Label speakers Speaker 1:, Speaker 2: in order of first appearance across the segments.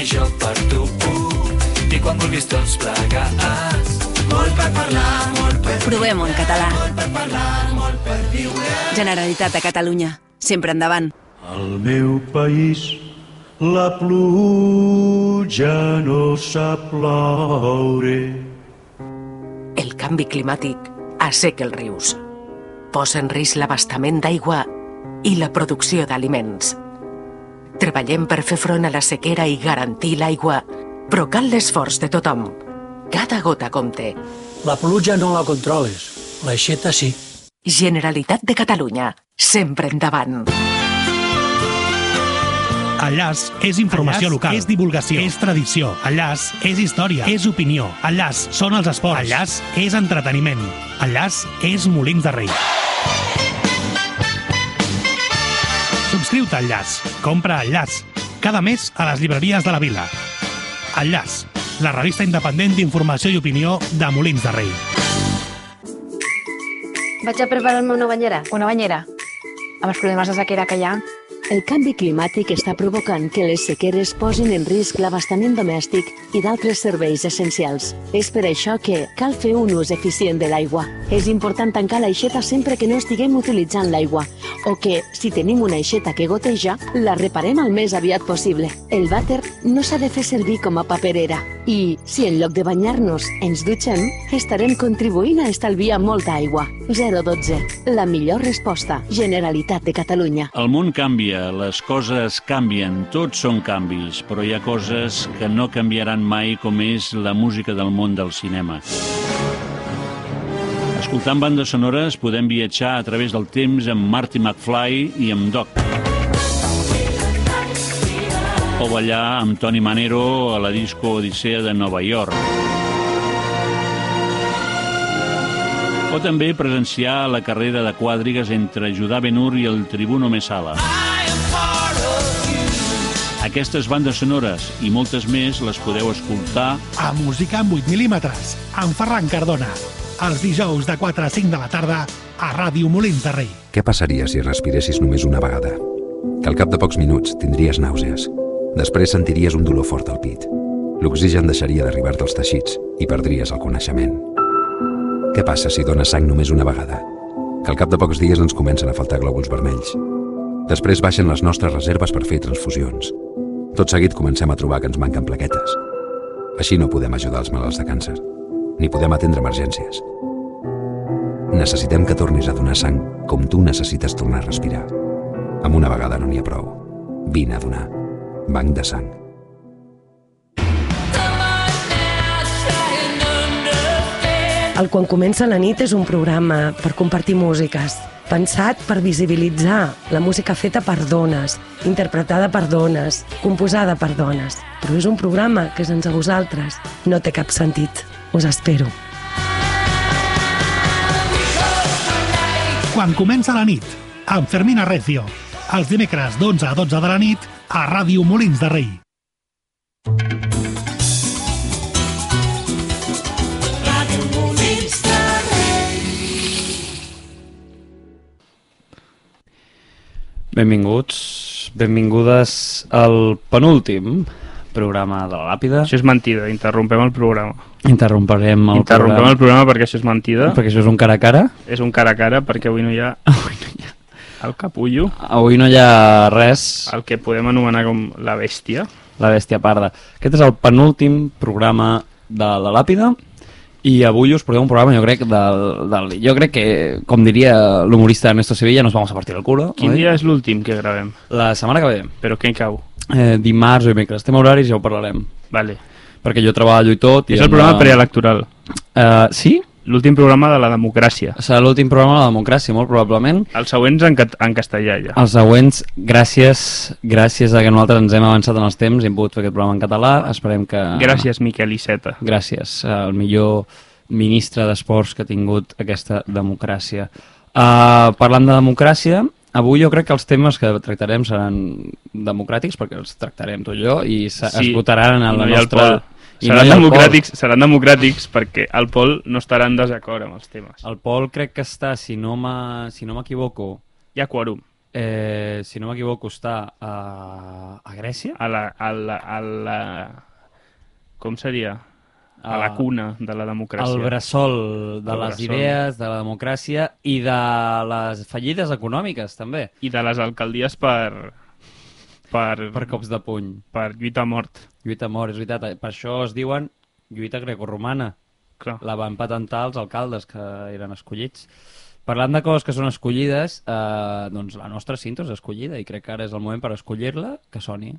Speaker 1: i jo per tu. I quan vulguis tots plegats, molt per parlar, molt per
Speaker 2: Provem-ho en català.
Speaker 1: viure.
Speaker 2: Generalitat de Catalunya. Sempre endavant.
Speaker 3: Al meu país la pluja no sap ploure.
Speaker 4: El canvi climàtic asseca els rius. Posa en risc l'abastament d'aigua i la producció d'aliments. Treballem per fer front a la sequera i garantir l'aigua, però cal l'esforç de tothom. Cada gota compte.
Speaker 5: La pluja no la controles, l'aixeta sí.
Speaker 4: Generalitat de Catalunya. Sempre endavant.
Speaker 6: Enllaç és informació Enllaç local. És divulgació. És tradició. Enllaç és història. És opinió. Enllaç són els esports. Enllaç és entreteniment. Enllaç és Molins de Rei. Subscriu-te a Enllaç. Compra Enllaç. Cada mes a les llibreries de la vila. Enllaç, la revista independent d'informació i opinió de Molins de Rei.
Speaker 7: Vaig a preparar-me una banyera. Una banyera? Amb els problemes de sequera que hi ha.
Speaker 8: El canvi climàtic està provocant que les sequeres posin en risc l'abastament domèstic i d'altres serveis essencials. És per això que cal fer un ús eficient de l'aigua. És important tancar l'aixeta sempre que no estiguem utilitzant l'aigua o que, si tenim una aixeta que goteja, la reparem el més aviat possible. El vàter no s'ha de fer servir com a paperera i, si en lloc de banyar-nos ens dutxem, estarem contribuint a estalviar molta aigua. 012. La millor resposta. Generalitat de Catalunya.
Speaker 9: El món canvia, les coses canvien, tots són canvis, però hi ha coses que no canviaran mai com és la música del món del cinema. Escoltant bandes sonores podem viatjar a través del temps amb Marty McFly i amb Doc. O ballar amb Tony Manero a la disco Odissea de Nova York. O també presenciar la carrera de quadrigues entre Judà Benur i el Tribuno Mesala. Aquestes bandes sonores i moltes més les podeu escoltar
Speaker 6: A Música en 8 mil·límetres, amb Ferran Cardona. Els dijous de 4 a 5 de la tarda a Ràdio Molins de Rei.
Speaker 10: Què passaria si respiressis només una vegada? Que al cap de pocs minuts tindries nàusees. Després sentiries un dolor fort al pit. L'oxigen deixaria d'arribar-te als teixits i perdries el coneixement. Què passa si dones sang només una vegada? Que al cap de pocs dies ens comencen a faltar glòbuls vermells. Després baixen les nostres reserves per fer transfusions. Tot seguit comencem a trobar que ens manquen plaquetes. Així no podem ajudar els malalts de càncer, ni podem atendre emergències. Necessitem que tornis a donar sang com tu necessites tornar a respirar. Amb una vegada no n'hi ha prou. Vine a donar. Banc de sang.
Speaker 11: El Quan comença la nit és un programa per compartir músiques, pensat per visibilitzar la música feta per dones, interpretada per dones, composada per dones. Però és un programa que sense vosaltres no té cap sentit. Us espero.
Speaker 6: Quan comença la nit, amb Fermina Recio. Els dimecres d'11 a 12 de la nit a Ràdio Molins de Rei.
Speaker 12: Benvinguts, benvingudes al penúltim programa de la Làpida.
Speaker 13: Això és mentida, interrompem el programa.
Speaker 12: Interromperem el
Speaker 13: Interrompem
Speaker 12: programa.
Speaker 13: el programa perquè això és mentida.
Speaker 12: Perquè això és un cara a cara.
Speaker 13: És un cara a cara perquè avui no hi ha... Avui no hi ha... El capullo,
Speaker 12: Avui no hi ha res,
Speaker 13: el que podem anomenar com la bèstia.
Speaker 12: la bèstia parda. Aquest és el penúltim programa de la Làpida i avui us portem un programa, jo crec, del, del, jo crec que, com diria l'humorista Ernesto Sevilla, nos vamos a partir el culo.
Speaker 13: Quin
Speaker 12: oi?
Speaker 13: dia és l'últim que gravem?
Speaker 12: La setmana que ve.
Speaker 13: Però què cau?
Speaker 12: Eh, dimarts o dimecres. Estem a horaris, ja ho parlarem.
Speaker 13: Vale.
Speaker 12: Perquè jo treballo i tot. I
Speaker 13: És el
Speaker 12: amb
Speaker 13: programa preelectoral.
Speaker 12: Eh, sí?
Speaker 13: L'últim programa de la democràcia.
Speaker 12: Serà l'últim programa de la democràcia, molt probablement.
Speaker 13: Els següents en, cat en castellà, ja.
Speaker 12: Els següents, gràcies, gràcies a que nosaltres ens hem avançat en els temps i hem pogut fer aquest programa en català. Esperem que...
Speaker 13: Gràcies, Miquel Iceta.
Speaker 12: Gràcies, eh, el millor ministre d'Esports que ha tingut aquesta democràcia. Uh, parlant de democràcia, avui jo crec que els temes que tractarem seran democràtics, perquè els tractarem tu i jo, i se- es votaran en la
Speaker 13: hi ha el
Speaker 12: nostra...
Speaker 13: Pol.
Speaker 12: i no
Speaker 13: Seran,
Speaker 12: hi ha el Pol.
Speaker 13: democràtics, seran democràtics perquè el Pol no estarà en desacord amb els temes.
Speaker 12: El Pol crec que està, si no m'equivoco...
Speaker 13: Hi ha quòrum.
Speaker 12: eh, si no m'equivoco, està a, a Grècia.
Speaker 13: A la, a la, a la... Com seria? A
Speaker 12: Ah.
Speaker 13: la cuna de la democràcia.
Speaker 12: El bressol de
Speaker 13: El
Speaker 12: les
Speaker 13: bressol.
Speaker 12: idees, de la democràcia i de les fallides econòmiques, també.
Speaker 13: I de les alcaldies per... Per,
Speaker 12: per cops de puny.
Speaker 13: Per lluita a mort.
Speaker 12: Lluita a mort, és veritat. eh, Per això es diuen lluita grecorromana.
Speaker 13: Clar.
Speaker 12: La van patentar els alcaldes que eren escollits. Parlant de coses que són escollides, eh, doncs la nostra cinta és escollida i crec que ara és el moment per escollir-la, que soni.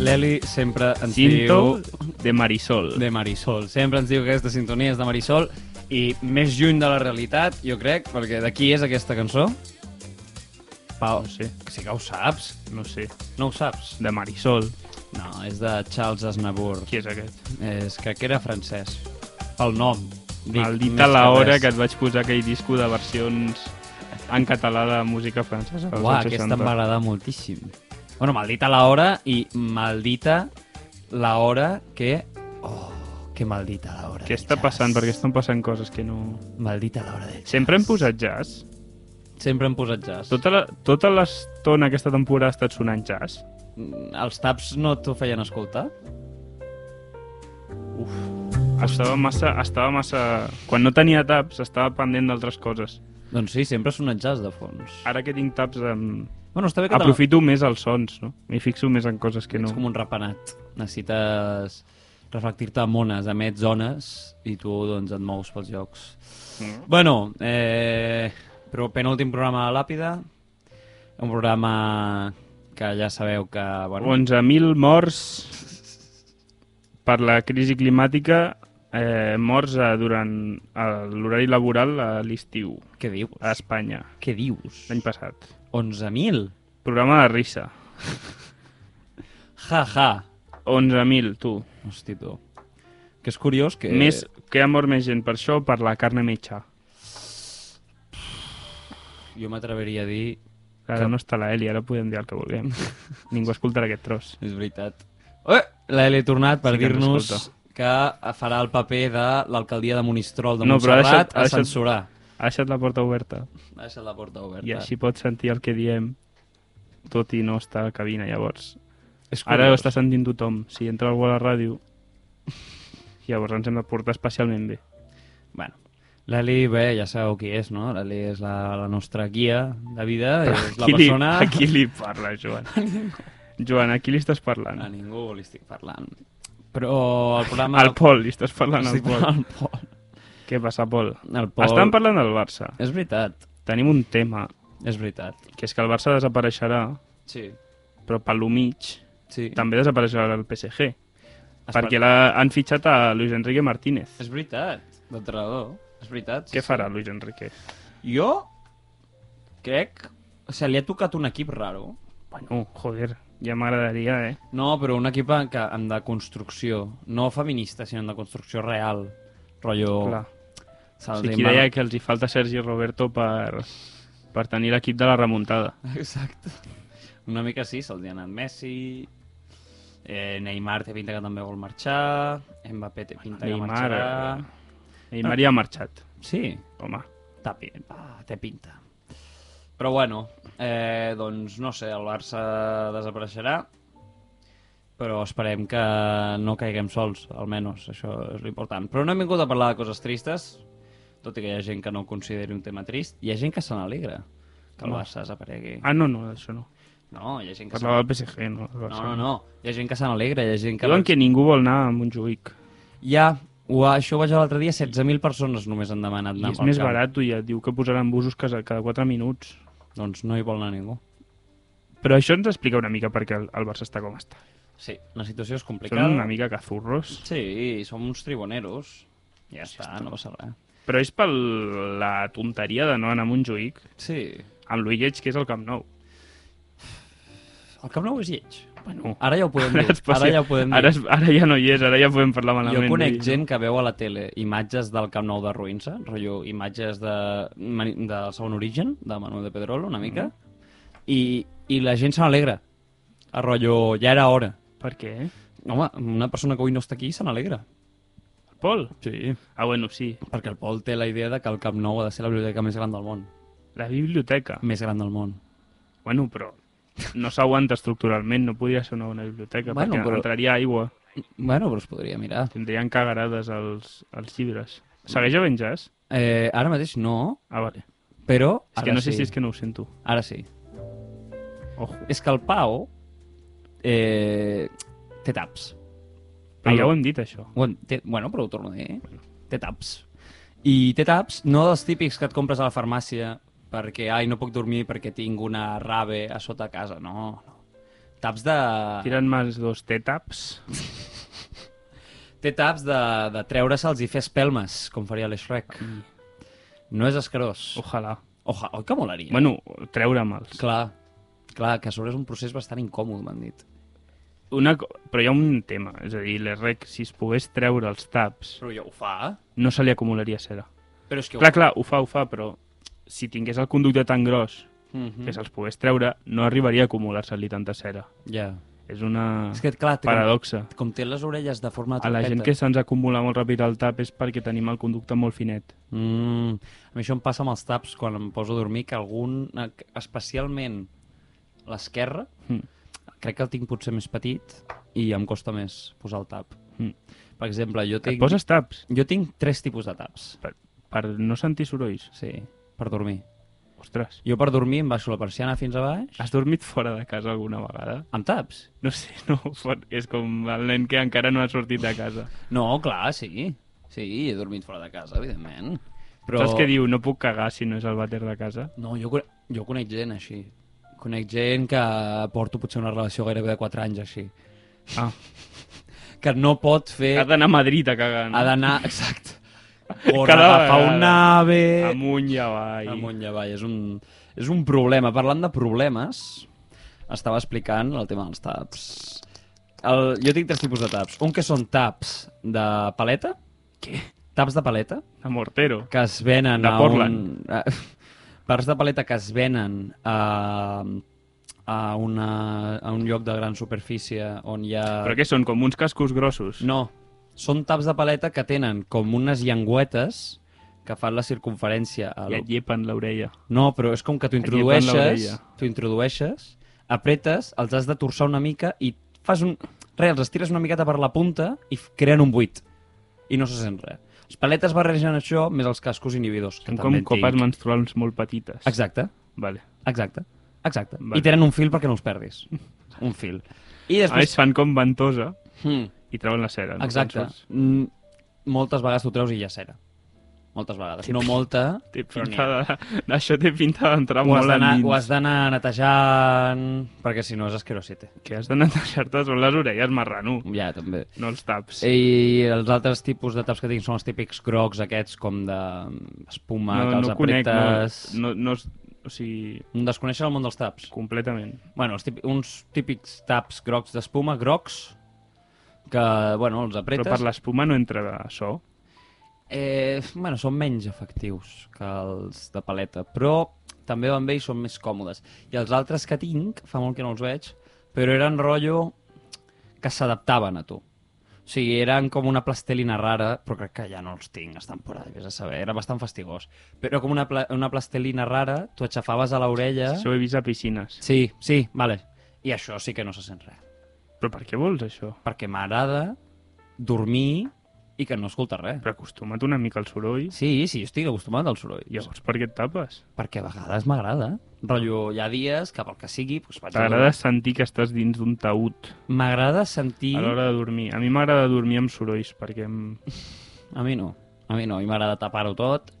Speaker 12: L'Eli sempre ens
Speaker 13: Cinto
Speaker 12: diu...
Speaker 13: de Marisol.
Speaker 12: De Marisol. Sempre ens diu que aquesta sintonia és de Marisol i més lluny de la realitat, jo crec, perquè de qui és aquesta cançó? Pau, no sé. sí que ho saps.
Speaker 13: No sé.
Speaker 12: No ho saps?
Speaker 13: De Marisol.
Speaker 12: No, és de Charles Aznavour.
Speaker 13: Qui és aquest?
Speaker 12: És, crec que era francès. Pel nom.
Speaker 13: Dic,
Speaker 12: més
Speaker 13: Maldita la
Speaker 12: que
Speaker 13: hora
Speaker 12: res.
Speaker 13: que et vaig posar aquell disco de versions en català de música francesa. dels
Speaker 12: Uah,
Speaker 13: anys
Speaker 12: aquesta
Speaker 13: 60.
Speaker 12: em va agradar moltíssim. Bueno, maldita la hora i maldita la hora que... Oh, que maldita la hora.
Speaker 13: Què està passant? Perquè estan passant coses que no...
Speaker 12: Maldita l'hora de...
Speaker 13: Sempre hem posat jazz?
Speaker 12: Sempre hem posat jazz.
Speaker 13: Tota la- tota l'estona aquesta temporada ha estat sonant jazz?
Speaker 12: Mm, Els taps no t'ho feien escoltar?
Speaker 13: Uf. Estava massa, estava massa... Quan no tenia taps, estava pendent d'altres coses.
Speaker 12: Doncs sí, sempre ha sonat jazz de fons.
Speaker 13: Ara que tinc taps... Em...
Speaker 12: Bueno, està bé que te-
Speaker 13: Aprofito més els sons, no? M'hi fixo més en coses que no.
Speaker 12: Ets com un repenat. Necessites reflectir-te en mones, emets zones i tu doncs, et mous pels llocs.
Speaker 13: Mm.
Speaker 12: Bueno, eh, però penúltim programa de l'Àpida, un programa que ja sabeu que... Bueno,
Speaker 13: 11.000 morts per la crisi climàtica, eh, morts eh, durant el- l'horari laboral a l'estiu.
Speaker 12: Què dius?
Speaker 13: A Espanya.
Speaker 12: Què dius?
Speaker 13: L'any passat.
Speaker 12: 11.000?
Speaker 13: Programa de risa.
Speaker 12: Ja, ja.
Speaker 13: 11.000, tu.
Speaker 12: Hosti, tu. Que és curiós que...
Speaker 13: Més, que ha mort més gent per això o per la carne mitjà?
Speaker 12: Jo m'atreviria a dir...
Speaker 13: Ara no està l'Eli, ara podem dir el que vulguem. Ningú escoltarà aquest tros.
Speaker 12: És veritat. Eh, L'Eli ha tornat per
Speaker 13: Sí que ens
Speaker 12: dir-nos
Speaker 13: escolta.
Speaker 12: que farà el paper de l'alcaldia de Monistrol de
Speaker 13: No, però ha
Speaker 12: Montserrat
Speaker 13: deixat- ha
Speaker 12: a
Speaker 13: deixat-
Speaker 12: censurar.
Speaker 13: Ha deixat la porta oberta.
Speaker 12: Ha deixat la porta oberta.
Speaker 13: I així pot sentir el que diem, tot i no estar a la cabina, llavors.
Speaker 12: És
Speaker 13: Ara ho
Speaker 12: curiós.
Speaker 13: està sentint tothom. Si entra algú a la ràdio, llavors ens hem de portar especialment bé.
Speaker 12: Bueno, L'Eli, bé, ja sabeu qui és, no? L'Eli és la, la nostra guia de vida, és la
Speaker 13: qui li-
Speaker 12: persona...
Speaker 13: a qui li parla, Joan? Joan, a qui li estàs parlant?
Speaker 12: A ningú li estic parlant. Però el programa...
Speaker 13: Al Pol, li estàs parlant al
Speaker 12: Estic
Speaker 13: Pol.
Speaker 12: parlant al Pol.
Speaker 13: Què passa, Pol?
Speaker 12: El Pol-
Speaker 13: Estan parlant del Barça.
Speaker 12: És veritat.
Speaker 13: Tenim un tema.
Speaker 12: És veritat.
Speaker 13: Que és que el Barça desapareixerà,
Speaker 12: Sí.
Speaker 13: però per lo mig
Speaker 12: sí.
Speaker 13: també desapareixerà el PSG.
Speaker 12: Espera.
Speaker 13: Perquè la, han fitxat a Luis Enrique Martínez.
Speaker 12: És veritat, d'entrenador. És veritat.
Speaker 13: Què farà Luis Enrique?
Speaker 12: Jo crec... O sigui, li ha tocat un equip raro.
Speaker 13: Bueno, joder, ja m'agradaria, eh?
Speaker 12: No, però un equip en, que, en de construcció. No feminista, sinó en de construcció real. Rotllo...
Speaker 13: Clar.
Speaker 12: Se'ls
Speaker 13: o sigui,
Speaker 12: hi
Speaker 13: qui
Speaker 12: mana-
Speaker 13: deia que els hi falta Sergi Roberto per, per tenir l'equip de la remuntada.
Speaker 12: Exacte. Una mica sí, se'ls hi ha anat Messi, eh, Neymar té pinta que també vol marxar, Mbappé té pinta que
Speaker 13: Neymar,
Speaker 12: marxarà...
Speaker 13: eh, Neymar ja ha marxat.
Speaker 12: Sí.
Speaker 13: Home.
Speaker 12: Té, pin- va, té pinta. Però bueno, eh, doncs no sé, el Barça desapareixerà, però esperem que no caiguem sols, almenys, això és l'important. Però no hem vingut a parlar de coses tristes, tot i que hi ha gent que no ho consideri un tema trist, hi ha gent que se n'alegra que el
Speaker 13: No.
Speaker 12: Barça desaparegui.
Speaker 13: Ah, no, no, això no.
Speaker 12: No, hi ha gent que
Speaker 13: Parlava
Speaker 12: se-
Speaker 13: del PSG, no, del Barça.
Speaker 12: No, no, no. Hi ha gent que se n'alegra, hi ha gent que...
Speaker 13: Diuen que ningú vol anar a Montjuïc.
Speaker 12: Ja, ho, això ho vaig veure l'altre dia, 16.000 persones només han demanat
Speaker 13: I
Speaker 12: anar
Speaker 13: és
Speaker 12: pel
Speaker 13: més
Speaker 12: camp.
Speaker 13: barat, tu ja. Diu que posaran busos cada, cada 4 minuts.
Speaker 12: Doncs no hi vol anar ningú.
Speaker 13: Però això ens explica una mica perquè el, el Barça està com està.
Speaker 12: Sí, la situació és complicada.
Speaker 13: Són una mica cazurros.
Speaker 12: Sí, i som uns tribuneros. Ja està, no passa res.
Speaker 13: Però és per la tonteria de no anar a Montjuïc.
Speaker 12: Sí.
Speaker 13: Amb l'Uilleig, que és el Camp Nou.
Speaker 12: El Camp Nou és lleig.
Speaker 13: Bueno,
Speaker 12: Ara ja ho podem
Speaker 13: ara
Speaker 12: dir.
Speaker 13: es posi-
Speaker 12: Ara ja ho podem dir.
Speaker 13: ara es- ara ja no hi és, ara ja podem parlar malament
Speaker 12: Jo conec
Speaker 13: d'ell.
Speaker 12: gent que veu a la tele imatges del Camp Nou de ruïnsa, rotllo, imatges de, mani-
Speaker 13: Mm.
Speaker 12: del segon origen, de Manuel de Pedrolo, una mica, i, i la gent se n'alegra. A rotllo, ja era hora.
Speaker 13: Per què?
Speaker 12: Home, una persona que avui no està aquí se n'alegra.
Speaker 13: El Pol?
Speaker 12: Sí.
Speaker 13: Ah, bueno, sí.
Speaker 12: Perquè el Pol té la idea de que el Camp Nou ha de ser la biblioteca més gran del món.
Speaker 13: La biblioteca?
Speaker 12: Més gran del món.
Speaker 13: Bueno, però no s'aguanta estructuralment, no podria ser una bona biblioteca,
Speaker 12: Bueno,
Speaker 13: bueno, perquè
Speaker 12: però-
Speaker 13: però... entraria aigua.
Speaker 12: Bueno, però es podria mirar.
Speaker 13: Tindrien cagarades els, els llibres. Segueix havent jazz?
Speaker 12: Eh, ara mateix no.
Speaker 13: Ah, vale.
Speaker 12: Però
Speaker 13: És que
Speaker 12: ara
Speaker 13: no sé
Speaker 12: sí.
Speaker 13: si és que no ho sento.
Speaker 12: Ara sí.
Speaker 13: Ojo.
Speaker 12: És que el Pau eh, té taps.
Speaker 13: Però Ah, ja
Speaker 12: El-
Speaker 13: ho hem dit, això.
Speaker 12: Ho hem- té, bueno, però ho torno a dir. eh? Té taps. I té taps no dels típics que et compres a la farmàcia perquè, ai, no puc dormir perquè tinc una rave a sota a casa. No, no. Taps de...
Speaker 13: Tiren més dos T-taps.
Speaker 12: Té taps de, de treure-se'ls i fer espelmes, com faria l'Shrek. No és escarós.
Speaker 13: Mm. Ojalà.
Speaker 12: Oja, oi que molaria?
Speaker 13: Bueno, treure'ls.
Speaker 12: Clar, clar, que a sobre és un procés bastant incòmode, m'han dit.
Speaker 13: Una... co- Però hi ha un tema, és a dir, l'REC, si es pogués treure els taps,
Speaker 12: Però ja ho fa.
Speaker 13: no se li acumularia cera.
Speaker 12: Però és que ho-
Speaker 13: Clar, clar, ho fa, ho fa, però si tingués el conducte tan gros
Speaker 12: Mhm.
Speaker 13: que se'ls pogués treure, no arribaria a acumular-se-li tanta cera.
Speaker 12: Ja.
Speaker 13: És una
Speaker 12: És que, clar, té com-
Speaker 13: paradoxa.
Speaker 12: Com té les orelles de forma de
Speaker 13: A la gent que se'ns acumula molt ràpid el tap és perquè tenim el conducte molt finet.
Speaker 12: Mm, a mi això em passa amb els taps quan em poso a dormir, que algun, eh, especialment l'esquerra,
Speaker 13: Mm.
Speaker 12: crec que el tinc potser més petit i em costa més posar el tap.
Speaker 13: Mm.
Speaker 12: Per exemple, jo tinc...
Speaker 13: poses taps?
Speaker 12: Jo tinc tres tipus de taps.
Speaker 13: Per, per no sentir sorolls?
Speaker 12: Sí, per dormir.
Speaker 13: Ostres.
Speaker 12: Jo per dormir em baixo la persiana fins a baix...
Speaker 13: Has dormit fora de casa alguna vegada?
Speaker 12: Amb taps?
Speaker 13: No sé, no, pot- és com el nen que encara no ha sortit de casa.
Speaker 12: No, clar, sí. Sí, he dormit fora de casa, evidentment.
Speaker 13: Però... Saps què diu? No puc cagar si no és el vàter de casa.
Speaker 12: No, jo, cone- jo conec gent així. Conec gent que porto potser una relació gairebé de 4 anys així.
Speaker 13: Ah.
Speaker 12: Que no pot fer...
Speaker 13: Ha d'anar a Madrid a cagar. No?
Speaker 12: Ha d'anar, exacte. Corre, Cada agafar
Speaker 13: vegada.
Speaker 12: un nave...
Speaker 13: Amunt i avall.
Speaker 12: Amunt i avall. És un, és un problema. Parlant de problemes, estava explicant el tema dels taps. El, jo tinc tres tipus de taps. Un que són taps de paleta.
Speaker 13: Què?
Speaker 12: Taps de paleta.
Speaker 13: De mortero.
Speaker 12: Que es venen
Speaker 13: De
Speaker 12: a
Speaker 13: Portland.
Speaker 12: un... a- Parts de paleta que es venen a, a, una, a un lloc de gran superfície on hi ha...
Speaker 13: Però què són, com uns cascos grossos?
Speaker 12: No, són taps de paleta que tenen com unes llengüetes que fan la circunferència. Al...
Speaker 13: I et llepen l'orella.
Speaker 12: No, però és com que t'ho
Speaker 13: Et llepen
Speaker 12: introdueixes,
Speaker 13: l'orella.
Speaker 12: t'ho introdueixes, apretes, els has de torçar una mica i fas un... Res, els estires una miqueta per la punta i f- creen un buit. I no se sent res. Les paletes barregen això més els cascos inhibidors. Que
Speaker 13: Són com
Speaker 12: també en
Speaker 13: copes
Speaker 12: tinc.
Speaker 13: menstruals molt petites.
Speaker 12: Exacte.
Speaker 13: Vale.
Speaker 12: Exacte. Exacte.
Speaker 13: Vale.
Speaker 12: I tenen un fil perquè no els perdis. Un fil. I
Speaker 13: A més,
Speaker 12: després...
Speaker 13: fan com ventosa
Speaker 12: Mm.
Speaker 13: i treuen la cera. No?
Speaker 12: Exacte.
Speaker 13: Com sols.
Speaker 12: Mm, moltes vegades t'ho treus i ja cera. Moltes vegades. No molta,
Speaker 13: Té
Speaker 12: però n'hi
Speaker 13: pinta
Speaker 12: ha.
Speaker 13: de... Això té pinta d'entrar
Speaker 12: Ho has
Speaker 13: molt
Speaker 12: d'anar-
Speaker 13: endins.
Speaker 12: Ho has d'anar netejant, perquè si no és asquerosete.
Speaker 13: Que has de netejar-te són les orelles marrano.
Speaker 12: Ja, també.
Speaker 13: No els taps.
Speaker 12: I els altres tipus de taps que tinc són els típics grocs aquests, com de espuma, que els apretes...
Speaker 13: no, no, no, o sigui...
Speaker 12: Desconeixer el món dels taps.
Speaker 13: Completament.
Speaker 12: Bueno, els típics, uns típics taps grocs d'espuma, grocs, que, bueno, els apretes...
Speaker 13: Però per l'espuma no entra so.
Speaker 12: Eh, bueno, són menys efectius que els de paleta, però també van bé i són més còmodes. I els altres que tinc, fa molt que no els veig, però eren rotllo que s'adaptaven a tu. O sigui, eren com una plastelina rara, però crec que ja no els tinc, estan por ahí, vés a saber, era bastant fastigós. Però com una, pla una plastelina rara, tu aixafaves a l'orella...
Speaker 13: Això ho he vist a piscines.
Speaker 12: Sí, sí, vale. I això sí que no se sent res.
Speaker 13: Però per què vols això?
Speaker 12: Perquè m'agrada dormir i que no escolta res.
Speaker 13: Però acostuma't una mica al soroll.
Speaker 12: Sí, sí, jo estic acostumat al soroll.
Speaker 13: Llavors, per què et tapes?
Speaker 12: Perquè a vegades m'agrada. Rotllo, hi ha dies que pel que sigui... Doncs vaig a
Speaker 13: T'agrada sentir que estàs dins d'un taüt
Speaker 12: dormir. M'agrada sentir...
Speaker 13: a l'hora de dormir. A mi m'agrada dormir amb sorolls perquè em...
Speaker 12: A mi no. A mi no, a mi m'agrada tapar-ho tot.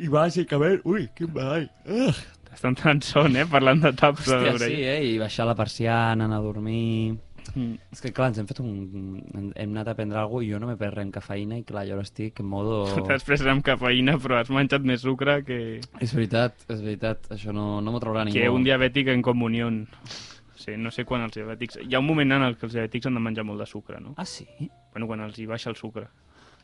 Speaker 12: I bàsicament... Ui, quin ball! Ah.
Speaker 13: t'està entrant son, eh? Parlant de taps a
Speaker 12: Hòstia, sí,
Speaker 13: l'orella.
Speaker 12: eh? I baixar la persiana, anar a dormir...
Speaker 13: Mm.
Speaker 12: És que, clar, ens hem fet un... Hem anat a prendre alguna cosa i jo no m'he pres res amb cafeïna i, clar, jo ara estic en modo...
Speaker 13: T'has pres amb cafeïna, però has menjat més sucre que,
Speaker 12: És veritat, és veritat. Això no, no m'ho traurà ningú.
Speaker 13: que un diabètic en comunió. Sí, no sé quan els diabètics... Hi ha un moment en el que els diabètics han de menjar molt de sucre, no?
Speaker 12: Ah, sí?
Speaker 13: Bueno, quan els hi baixa el sucre,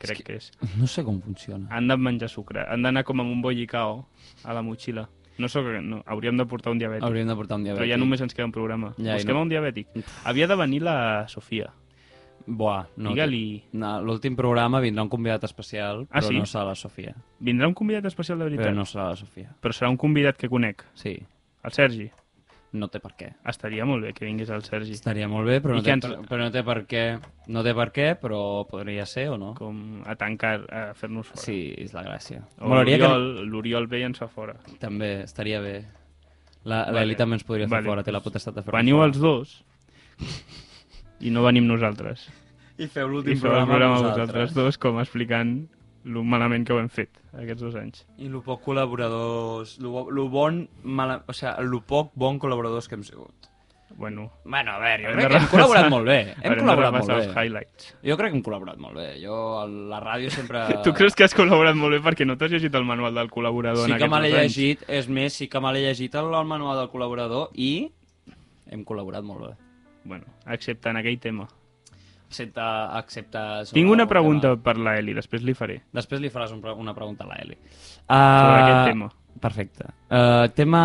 Speaker 13: crec que... que és.
Speaker 12: No sé com funciona.
Speaker 13: Han de menjar sucre, han d'anar com amb un bollicao a la motxilla. No sóc, no, hauríem de portar un diabètic.
Speaker 12: Hauríem de portar un diabètic.
Speaker 13: Però ja només ens queda un programa.
Speaker 12: Ja,
Speaker 13: Ja,
Speaker 12: i
Speaker 13: Busquem
Speaker 12: no-
Speaker 13: no. un diabètic. Havia de venir la Sofia.
Speaker 12: Buah, no.
Speaker 13: Digue-li.
Speaker 12: No, L'últim programa vindrà un convidat especial,
Speaker 13: Ah,
Speaker 12: però
Speaker 13: sí?
Speaker 12: no serà la Sofia.
Speaker 13: Vindrà un convidat especial de veritat?
Speaker 12: Però no serà la Sofia.
Speaker 13: Però serà un convidat que conec.
Speaker 12: Sí.
Speaker 13: El Sergi.
Speaker 12: No té per què.
Speaker 13: Estaria molt bé que vingués el Sergi.
Speaker 12: Estaria molt bé, però
Speaker 13: I
Speaker 12: no,
Speaker 13: que
Speaker 12: té,
Speaker 13: ens-
Speaker 12: per, però no té per què. No té per què, però podria ser o no.
Speaker 13: Com a tancar, a fer-nos fora.
Speaker 12: Sí, és la gràcia.
Speaker 13: O l'Oriol, l'Oriol ve i ens fa fora.
Speaker 12: que... També, estaria bé. La- L'Eli també ens podria fer fora, té la potestat de fer-nos
Speaker 13: doncs, Veniu
Speaker 12: fora.
Speaker 13: els dos i no venim nosaltres.
Speaker 12: I feu l'últim
Speaker 13: I feu el
Speaker 12: programa vosaltres.
Speaker 13: vosaltres dos com explicant lo malament que ho hem fet aquests dos anys.
Speaker 12: I lo poc col·laboradors... Lo, bo- lo bon... Mala, o sigui, lo poc bon col·laboradors que hem sigut.
Speaker 13: Bueno.
Speaker 12: Bueno, a veure, jo
Speaker 13: Hem
Speaker 12: crec
Speaker 13: de
Speaker 12: que hem col·laborat
Speaker 13: repassar-
Speaker 12: molt bé.
Speaker 13: Haurem
Speaker 12: Hem
Speaker 13: de
Speaker 12: col·laborat molt
Speaker 13: repassar
Speaker 12: bé.
Speaker 13: els highlights.
Speaker 12: Jo crec que hem col·laborat molt bé. Jo, a la ràdio sempre...
Speaker 13: Tu creus que has col·laborat molt bé perquè no t'has llegit el manual del col·laborador
Speaker 12: Sí
Speaker 13: en
Speaker 12: que
Speaker 13: aquests
Speaker 12: me l'he
Speaker 13: dos anys?
Speaker 12: llegit, és més, sí que me l'he llegit el, el manual del col·laborador i hem col·laborat molt bé.
Speaker 13: Bueno, excepte en aquell tema.
Speaker 12: Excepte... excepte sobre
Speaker 13: Tinc una
Speaker 12: algun
Speaker 13: pregunta per la Eli, després li faré.
Speaker 12: tema. Després li faràs un, pre- una pregunta a l'Eli.
Speaker 13: Sobre
Speaker 12: Ah,
Speaker 13: aquest tema.
Speaker 12: Perfecte. Uh, tema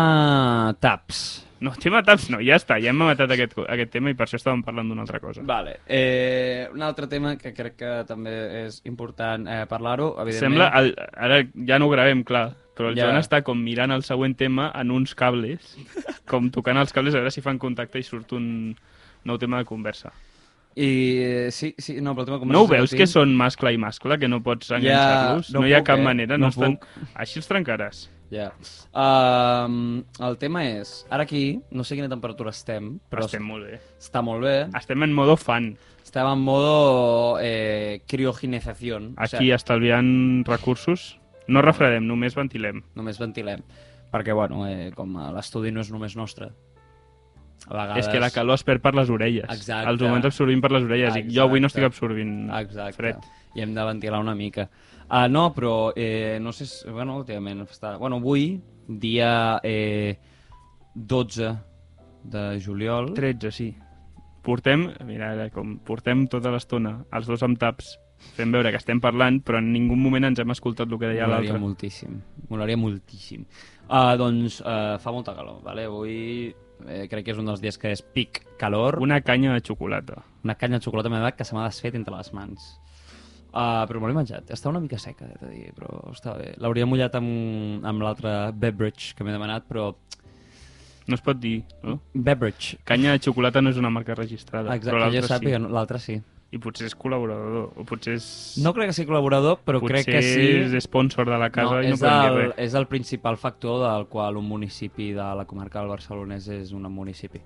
Speaker 12: TAPS.
Speaker 13: No, tema taps no, ja està, ja hem matat aquest, aquest tema i per això estàvem parlant d'una altra cosa.
Speaker 12: Vale. Eh, un altre tema que crec que també és important eh, parlar-ho, evidentment.
Speaker 13: Sembla, el, ara ja no ho gravem, clar, però el
Speaker 12: Ja.
Speaker 13: Eh? ja. Joan està com mirant el següent tema en uns cables, com tocant els cables a veure si fan contacte i surt un nou tema de conversa.
Speaker 12: I eh, sí, sí, no, però el tema
Speaker 13: No ho
Speaker 12: conversació
Speaker 13: veus
Speaker 12: tinc.
Speaker 13: que són mascle i mascle, que no pots
Speaker 12: Ja,
Speaker 13: enganxar-los?
Speaker 12: no
Speaker 13: no, hi ha
Speaker 12: puc,
Speaker 13: cap
Speaker 12: eh?
Speaker 13: manera,
Speaker 12: No
Speaker 13: no, estan... Així els trencaràs.
Speaker 12: Ja. Ehm, el tema és, ara aquí, no sé a quina temperatura estem, però...
Speaker 13: Estem molt bé.
Speaker 12: Està molt bé.
Speaker 13: Estem en modo fan.
Speaker 12: Estem en modo eh, criogenizació.
Speaker 13: Aquí estalviant recursos, no refredem, només ventilem.
Speaker 12: Només ventilem. Perquè, bueno, eh, com eh, l'estudi no és només nostre. A vegades...
Speaker 13: És que la calor es perd per les orelles.
Speaker 12: Exacte.
Speaker 13: Els humans absorbim per les orelles. Exacte. I jo avui no estic absorbint
Speaker 12: Exacte.
Speaker 13: fred.
Speaker 12: I hem de ventilar una mica. Ah, no, però eh, no sé si... Bueno, últimament està... Bueno, avui, dia eh, 12 de juliol...
Speaker 13: 13, sí. Portem, mira, ara com portem tota l'estona, els dos amb taps, fent veure que estem parlant, però en ningun moment ens hem escoltat el que deia
Speaker 12: Molaria
Speaker 13: l'altre.
Speaker 12: moltíssim, molaria moltíssim. Ah, doncs eh, fa molta calor, vale? avui eh, crec que és un dels dies que és pic calor.
Speaker 13: Una canya de xocolata.
Speaker 12: Una canya de xocolata m'ha agradat que se m'ha desfet entre les mans. Uh, però me l'he menjat. Està una mica seca, he de dir, però està bé. L'hauria mullat amb, amb l'altre beverage que m'he demanat, però...
Speaker 13: No es pot dir, no?
Speaker 12: Beverage.
Speaker 13: Canya de xocolata no és una marca registrada,
Speaker 12: Exacte,
Speaker 13: però
Speaker 12: que jo
Speaker 13: l'altre
Speaker 12: sàpiga,
Speaker 13: sí.
Speaker 12: no, l'altre sí.
Speaker 13: I potser és col·laborador, o potser és...
Speaker 12: No crec que sigui col·laborador, però
Speaker 13: potser
Speaker 12: crec que sí...
Speaker 13: és sponsor de la casa i no
Speaker 12: és
Speaker 13: podem dir
Speaker 12: el,
Speaker 13: res.
Speaker 12: És el principal factor del qual un municipi de la comarca del Barcelonès és un municipi.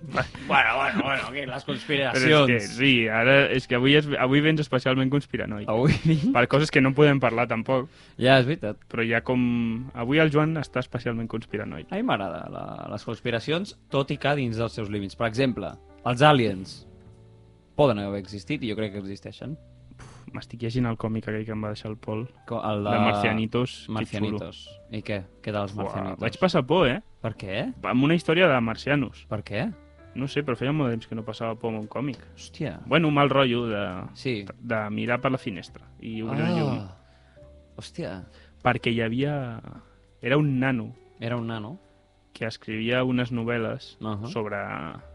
Speaker 12: Bueno, bueno, bueno, aquí les
Speaker 13: Però és que, sí, ara, és que avui, és, avui vens especialment conspiranoic.
Speaker 12: Avui
Speaker 13: Per coses que no podem parlar tampoc.
Speaker 12: Ja, és veritat.
Speaker 13: Però ja com... Avui el Joan està especialment conspiranoic.
Speaker 12: A mi m'agrada la- les conspiracions, tot i que dins dels seus límits. Per exemple, els aliens poden haver existit i jo crec que existeixen.
Speaker 13: M'estic llegint el còmic aquell que em va deixar el Pol.
Speaker 12: El de...
Speaker 13: de Marcianitos. que
Speaker 12: Marcianitos. I què? Què dels
Speaker 13: xulo. Uah,
Speaker 12: Marcianitos?
Speaker 13: vaig passar por, eh?
Speaker 12: Per què?
Speaker 13: Amb una història de marcianos.
Speaker 12: Per què?
Speaker 13: No sé, però feia molt de temps que no passava por amb un còmic.
Speaker 12: Hòstia.
Speaker 13: Bueno, un mal rotllo de,
Speaker 12: sí.
Speaker 13: de mirar per la finestra i obrir
Speaker 12: Ah.
Speaker 13: el llum.
Speaker 12: Hòstia.
Speaker 13: Perquè hi havia... eh. Era un nano.
Speaker 12: Era un nano.
Speaker 13: Que escrivia unes novel·les uh
Speaker 12: Ahà.
Speaker 13: -huh. sobre,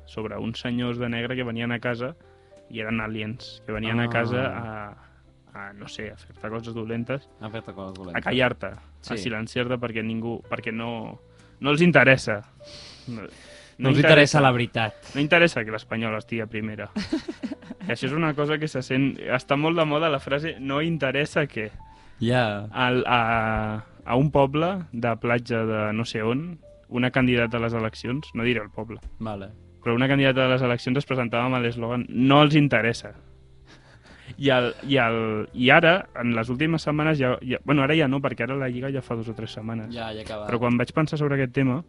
Speaker 13: sobre uns senyors de negre que venien a casa i eren aliens, que venien
Speaker 12: Ah.
Speaker 13: a casa a, a, no sé, a fer-te coses dolentes.
Speaker 12: A fer-te coses dolentes.
Speaker 13: a callar-te, sí.
Speaker 12: Sí.
Speaker 13: a silenciar-te perquè ningú, perquè no, no els interessa. No,
Speaker 12: No els interessa la veritat.
Speaker 13: No interessa que l'espanyol estigui a primera. I això és una cosa que se sent... Està molt de moda la frase no interessa que...
Speaker 12: Ja.
Speaker 13: Al, a, a un poble de platja de no sé on, una candidata a les eleccions, no diré el poble,
Speaker 12: Vale.
Speaker 13: però una candidata a les eleccions es presentava amb l'eslògan no els interessa. I, el, i, el, I ara, en les últimes setmanes, ja, ja, bueno, ara ja no, perquè ara la Lliga ja fa dues o tres setmanes.
Speaker 12: Ja, ja ha acabat.
Speaker 13: Però quan vaig pensar sobre aquest tema,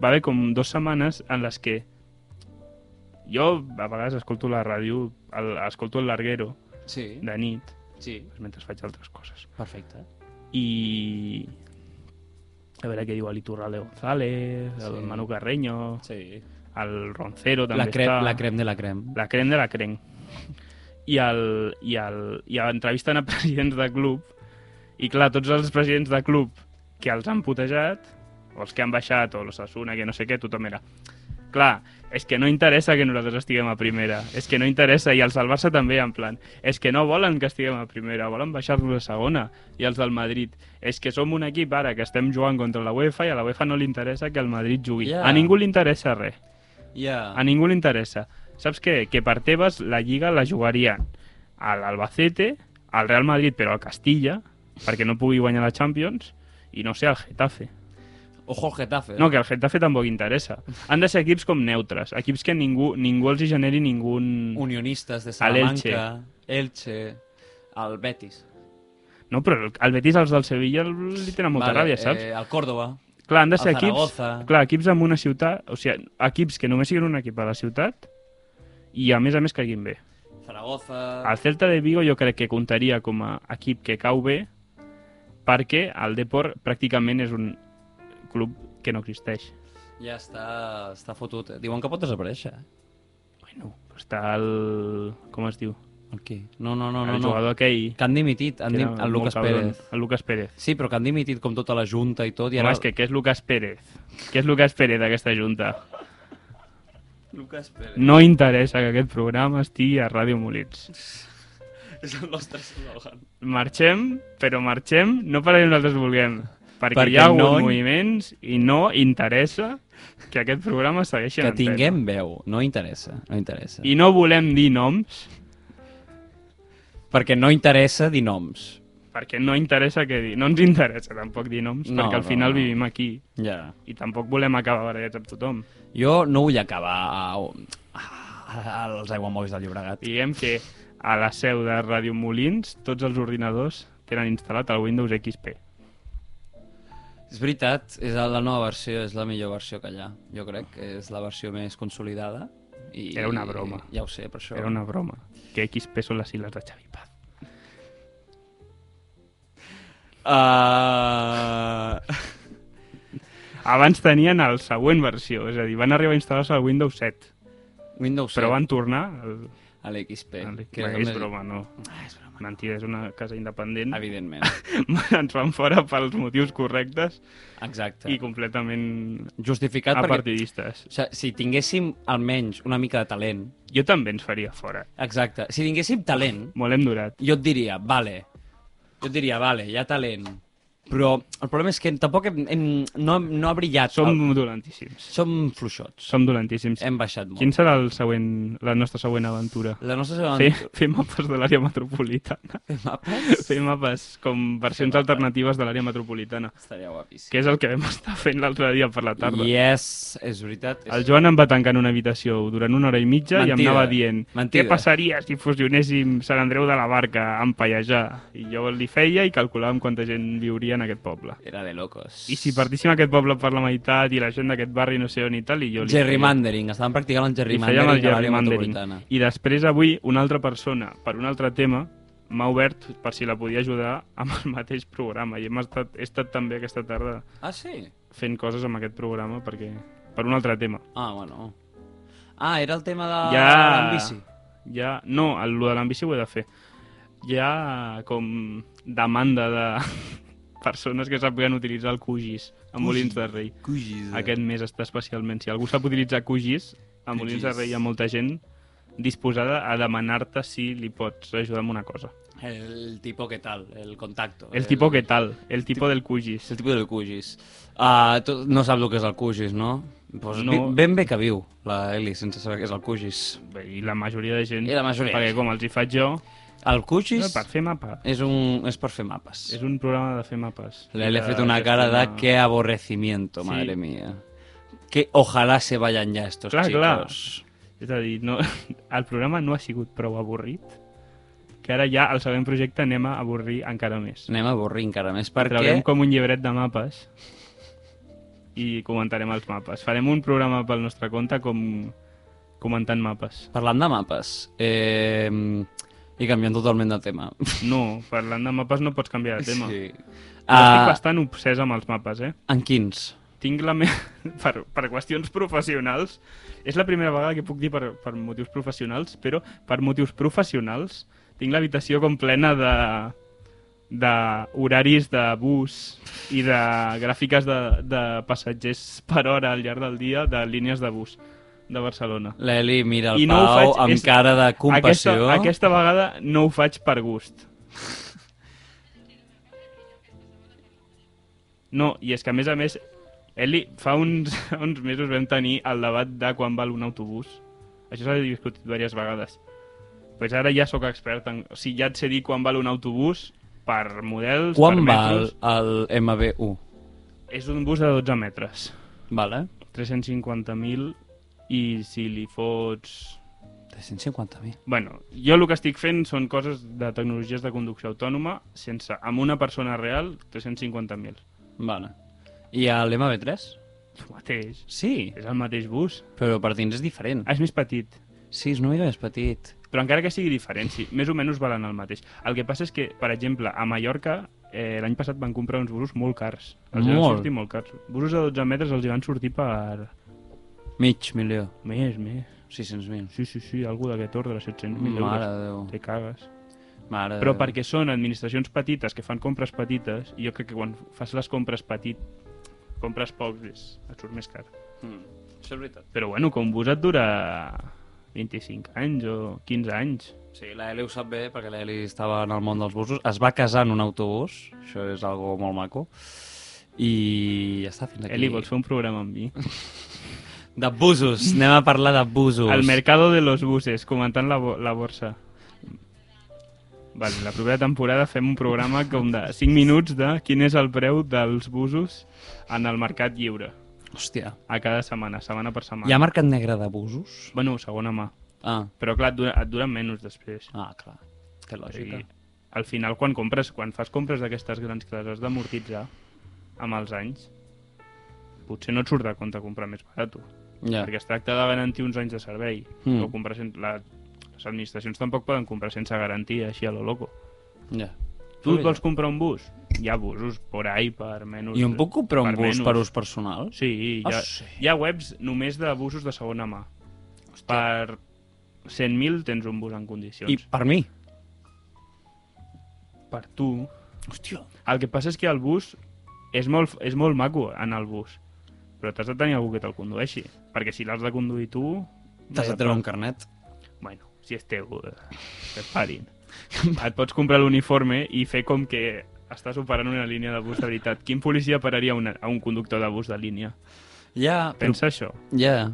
Speaker 13: va haver com dues setmanes en les que jo a vegades escolto la ràdio, el, escolto el larguero
Speaker 12: Sí.
Speaker 13: de nit,
Speaker 12: sí.
Speaker 13: mentre faig altres coses.
Speaker 12: Perfecte.
Speaker 13: I a veure què diu Ali Turralde González, sí. el
Speaker 12: Sí.
Speaker 13: Manu Carreño,
Speaker 12: sí.
Speaker 13: el Roncero també
Speaker 12: La crem,
Speaker 13: està.
Speaker 12: la crem de la crem.
Speaker 13: La crem de la crem. I, el, i, el, i entrevisten a presidents de club i clar, tots els presidents de club que els han putejat, o els que han baixat, o l'Ossassuna, que no sé què, tothom era... Clar, és que no interessa que nosaltres estiguem a primera, és que no interessa, i els del Barça també, en plan, és que no volen que estiguem a primera, volen baixar-nos a segona, i els del Madrid, és que som un equip ara que estem jugant contra la UEFA i a la UEFA no li interessa que el Madrid jugui.
Speaker 10: Ja.
Speaker 13: Yeah. A ningú li interessa res.
Speaker 10: Ja.
Speaker 13: A ningú li interessa. Saps què? Que per Tebas la Lliga la jugarien a l'Albacete, al Real Madrid, però al Castilla, perquè no pugui guanyar la Champions, i no sé, al Getafe.
Speaker 12: Ojo al Getafe.
Speaker 13: No, que al Getafe tampoc interessa. Han de ser equips com neutres, equips que ningú, ningú els hi generi ningun...
Speaker 12: Unionistes de
Speaker 13: A l'Elche.
Speaker 12: Salamanca, Elche, el Betis.
Speaker 13: No, però el Betis, els del Sevilla, li tenen molta
Speaker 12: Vale,
Speaker 13: ràbia, saps?
Speaker 12: eh, el Córdoba,
Speaker 13: Clar, han de ser
Speaker 12: el
Speaker 13: equips,
Speaker 12: Zaragoza.
Speaker 13: clar, equips amb una ciutat, o sigui, equips que només siguin un equip a la ciutat i a més a més caiguin bé.
Speaker 12: Zaragoza...
Speaker 13: El Celta de Vigo jo crec que comptaria com a equip que cau bé perquè el Depor pràcticament és un club que no existeix.
Speaker 12: Ja està, està fotut. Diuen que pot desaparèixer. eh?
Speaker 13: Està el... com es diu?
Speaker 12: El qui? No, no, no.
Speaker 13: El
Speaker 12: no, no.
Speaker 13: jugador aquell...
Speaker 12: Que han dimitit, han
Speaker 13: que
Speaker 12: dim...
Speaker 13: era
Speaker 12: el
Speaker 13: molt
Speaker 12: Lucas
Speaker 13: cabron.
Speaker 12: Pérez.
Speaker 13: El Lucas Pérez.
Speaker 12: Sí, però que han dimitit com tota la Junta i tot. I
Speaker 13: Home,
Speaker 12: ara...
Speaker 13: és que què és Lucas Pérez? Què és Lucas Pérez d'aquesta junta?
Speaker 12: Lucas Pérez.
Speaker 13: No interessa que aquest programa estigui a Ràdio Molins.
Speaker 12: És el nostre slogan.
Speaker 13: Marxem, però marxem no perquè nosaltres vulguem, perquè,
Speaker 12: Perquè
Speaker 13: perquè hi ha hagut
Speaker 12: no-
Speaker 13: no... moviments i no interessa que aquest programa segueixi en
Speaker 10: Que
Speaker 13: antena.
Speaker 10: tinguem veu, no interessa, no interessa.
Speaker 13: I no volem dir noms
Speaker 10: Perquè no interessa dir noms.
Speaker 13: perquè no interessa què dir. No ens interessa tampoc dir noms,
Speaker 10: No,
Speaker 13: perquè al
Speaker 10: no,
Speaker 13: final
Speaker 10: no.
Speaker 13: vivim aquí
Speaker 10: Ja.
Speaker 13: i tampoc volem acabar barallats amb tothom.
Speaker 10: Jo no vull acabar a, a, als aiguamolls del Llobregat.
Speaker 13: Diguem que a la seu de Ràdio Molins tots els ordinadors tenen instal·lat el Windows XP.
Speaker 12: És veritat, és la nova versió, és la millor versió que hi ha. Jo crec que és la versió més consolidada. I,
Speaker 13: Era una broma.
Speaker 12: Ja ho sé, per això...
Speaker 13: Era una broma. Que XP són les sigles de Xavi Paz.
Speaker 12: Ah, Uh...
Speaker 13: Abans tenien el següent versió, és a dir, van arribar a instal·lar-se al Windows 7.
Speaker 12: Windows
Speaker 13: Però
Speaker 12: 7.
Speaker 13: van tornar al...
Speaker 12: A l'XP.
Speaker 13: Al...
Speaker 12: que
Speaker 13: Bé,
Speaker 12: era
Speaker 13: és
Speaker 12: més-
Speaker 13: broma, no.
Speaker 12: Ah, és broma.
Speaker 13: Mentida, és una casa independent.
Speaker 12: Evidentment.
Speaker 13: Ens van fora pels motius correctes.
Speaker 12: Exacte.
Speaker 13: I completament...
Speaker 12: Justificat perquè-
Speaker 13: Apartidistes.
Speaker 12: O sigui, si tinguéssim almenys una mica de talent...
Speaker 13: Jo també ens faria fora.
Speaker 12: Exacte. Si tinguéssim talent...
Speaker 13: Molt hem durat.
Speaker 12: Jo et diria, vale. Jo et diria, vale, hi ha talent. Però el problema és que tampoc hem, hem, no, no ha brillat.
Speaker 13: Som
Speaker 12: el...
Speaker 13: dolentíssims.
Speaker 12: Som fluixots.
Speaker 13: Som dolentíssims.
Speaker 12: Hem baixat molt.
Speaker 13: Quin serà el següent, la nostra següent aventura?
Speaker 12: La nostra següent
Speaker 13: Fer,
Speaker 12: aventura-
Speaker 13: fer mapes de l'àrea metropolitana.
Speaker 12: Fer mapes?
Speaker 13: Fer mapes com versions alternatives de l'àrea metropolitana.
Speaker 12: Estaria guapíssim.
Speaker 13: Que és el que vam estar fent l'altre dia per la tarda.
Speaker 12: Yes, és veritat. És...
Speaker 13: El Joan em va tancar en una habitació durant una hora i mitja i em
Speaker 12: Mentida.
Speaker 13: anava dient
Speaker 12: Mentida.
Speaker 13: què passaria si fusionéssim Sant Andreu de la Barca amb Pallejà? I jo li feia i calculàvem quanta gent viuria en aquest poble.
Speaker 12: Era de locos.
Speaker 13: I si partíssim aquest poble per la meitat i la gent d'aquest barri no sé on i tal, i jo li
Speaker 12: Gerrymandering, estaven practicant el
Speaker 13: feia, i fèiem el
Speaker 12: gerrymandering de l'àrea
Speaker 13: gerrymandering.
Speaker 12: metropolitana.
Speaker 13: I després avui una altra persona, per un altre tema, m'ha obert per si la podia ajudar amb el mateix programa i hem estat, he estat també aquesta tarda
Speaker 12: Ah, sí?
Speaker 13: fent coses amb aquest programa perquè per un altre tema.
Speaker 12: Ah, bueno. Ah, era el tema de
Speaker 13: ja...
Speaker 12: l'ambici.
Speaker 13: Ja... No, el, lo de l'ambici ho he de fer. Hi ha com demanda de persones que sàpiguen utilitzar el QGIS a
Speaker 12: Cugis,
Speaker 13: Molins de Rei.
Speaker 12: Cugis. eh.
Speaker 13: Aquest mes està especialment. Si algú sap utilitzar QGIS, a Molins de
Speaker 12: Cugis.
Speaker 13: Rei hi ha molta gent disposada a demanar-te si li pots ajudar amb una cosa.
Speaker 12: El tipo que tal, el contacto.
Speaker 13: El tipo que tal, el tipo del QGIS.
Speaker 12: El tipo del QGIS. Ah, tu no saps el que és el QGIS, no? Pues
Speaker 13: No.
Speaker 12: no. Ben bé que viu la Eli sense saber què és el QGIS.
Speaker 13: Bé, I la majoria de gent...
Speaker 12: I la majoria.
Speaker 13: Perquè com els hi faig jo...
Speaker 12: El QGIS...
Speaker 13: No, per fer mapa.
Speaker 12: És, un, és per fer mapes.
Speaker 13: És un programa de fer mapes.
Speaker 12: Le, le he
Speaker 13: De
Speaker 12: fet una cara de
Speaker 13: gestionar-
Speaker 12: qué aborrecimiento,
Speaker 13: Sí.
Speaker 12: madre mía. Que ojalá se vayan ya estos
Speaker 13: clar,
Speaker 12: chicos.
Speaker 13: clar. És a dir, no, el programa no ha sigut prou avorrit, que ara ja al següent projecte anem a avorrir encara més.
Speaker 12: Anem a avorrir encara més,
Speaker 13: Traurem
Speaker 12: perquè...
Speaker 13: com un llibret de mapes i comentarem els mapes. Farem un programa pel nostre compte com comentant mapes.
Speaker 12: Parlant de mapes, eh, i canviant totalment de tema.
Speaker 13: No, parlant de mapes no pots canviar de tema.
Speaker 12: Sí.
Speaker 13: Jo estic
Speaker 12: Ah.
Speaker 13: bastant obsès amb els mapes, eh?
Speaker 12: En quins?
Speaker 13: Tinc la meva... Per, per qüestions professionals, és la primera vegada que puc dir per, per motius professionals, però per motius professionals tinc l'habitació com plena de d'horaris de bus i de gràfiques de, de passatgers per hora al llarg del dia de línies de bus de Barcelona.
Speaker 12: L'Eli mira el
Speaker 13: I
Speaker 12: Pau amb cara de compassió.
Speaker 13: Aquesta, aquesta vegada no ho faig per gust. No, i és que a més a més, Eli, fa uns, uns mesos vam tenir el debat de quan val un autobús. Això s'ha discutit diverses vegades. Pues ara ja sóc expert en... O sigui, ja et sé dir quan val un autobús per models,
Speaker 10: Quan
Speaker 13: per
Speaker 10: val
Speaker 13: metros...
Speaker 10: el MB1?
Speaker 13: És un bus de 12 metres.
Speaker 10: Vale.
Speaker 13: 350.000 i si li fots...
Speaker 10: 350.000.
Speaker 13: Bueno, jo el que estic fent són coses de tecnologies de conducció autònoma sense, amb una persona real, 350.000.
Speaker 12: Vale. I a l'MB3?
Speaker 13: El mateix.
Speaker 12: Sí.
Speaker 13: És el mateix bus.
Speaker 12: Però per dins és diferent.
Speaker 13: És més petit.
Speaker 12: Sí, és una mica més petit.
Speaker 13: Però encara que sigui diferent, sí, més o menys valen el mateix. El que passa és que, per exemple, a Mallorca eh, l'any passat van comprar uns busos molt cars. Els hi van
Speaker 12: Molt.
Speaker 13: sortir molt cars. Busos de 12 metres els hi van sortir per...
Speaker 12: Mig milió.
Speaker 13: Més, més.
Speaker 12: 600.000.
Speaker 13: Sí, sí, sí, algú d'aquest ordre, 700.000 euros.
Speaker 12: Mare de Déu. Eh.
Speaker 13: Te cagues.
Speaker 12: Mare de
Speaker 13: Però
Speaker 12: Déu.
Speaker 13: perquè són administracions petites que fan compres petites, i jo crec que quan fas les compres petit, compres poc, és, et surt més car.
Speaker 12: Mm. Això és veritat.
Speaker 13: Però bueno, com bus et dura 25 anys o 15 anys.
Speaker 12: Sí, l'Eli ho sap bé, perquè l'Eli estava en el món dels busos. Es va casar en un autobús, això és algo molt maco. I ja està, fins aquí.
Speaker 13: Eli, eh, vols fer un programa amb mi?
Speaker 12: De busos, anem a parlar de busos.
Speaker 13: El mercado de los buses, comentant la, bo- la borsa. Vale, la propera temporada fem un programa com de 5 minuts de quin és el preu dels busos en el mercat lliure.
Speaker 12: Hòstia.
Speaker 13: A cada setmana, setmana per setmana.
Speaker 12: Hi ha mercat negre de busos?
Speaker 13: Bueno, segona mà.
Speaker 12: Ah.
Speaker 13: Però clar, et dura, et duren menys després.
Speaker 12: Ah, clar. Que lògica.
Speaker 13: I, al final, quan compres, quan fas compres d'aquestes grans que les has d'amortitzar amb els anys, potser no et surt de compte comprar més barat.
Speaker 12: Ja.
Speaker 13: Perquè es tracta de garantir uns anys de servei.
Speaker 12: Mm.
Speaker 13: No comprar sen... la... Les administracions tampoc poden comprar sense garantia, així a lo loco.
Speaker 12: Ja.
Speaker 13: Tu et
Speaker 12: Ja.
Speaker 13: vols comprar un bus? Hi ha busos por ahí per menys...
Speaker 12: I on puc comprar un bus
Speaker 13: menys.
Speaker 12: per ús personal?
Speaker 13: Sí, hi ha,
Speaker 12: Ah,
Speaker 13: sí. hi ha webs només de busos de segona mà. Hòstia. Per 100.000 tens un bus en condicions.
Speaker 12: I per mi?
Speaker 13: Per tu.
Speaker 12: Hòstia.
Speaker 13: El que passa és que el bus és molt, és molt maco en el bus, però t'has de tenir algú que te'l condueixi, perquè si l'has de conduir tu...
Speaker 12: T'has de treure un carnet.
Speaker 13: Bueno, si és teu, eh, que et parin. Et pots comprar l'uniforme i fer com que estàs operant una línia de bus de veritat. Quin policia pararia una, a un conductor de bus de línia?
Speaker 12: Ja, però-
Speaker 13: Pensa això.
Speaker 12: Ja.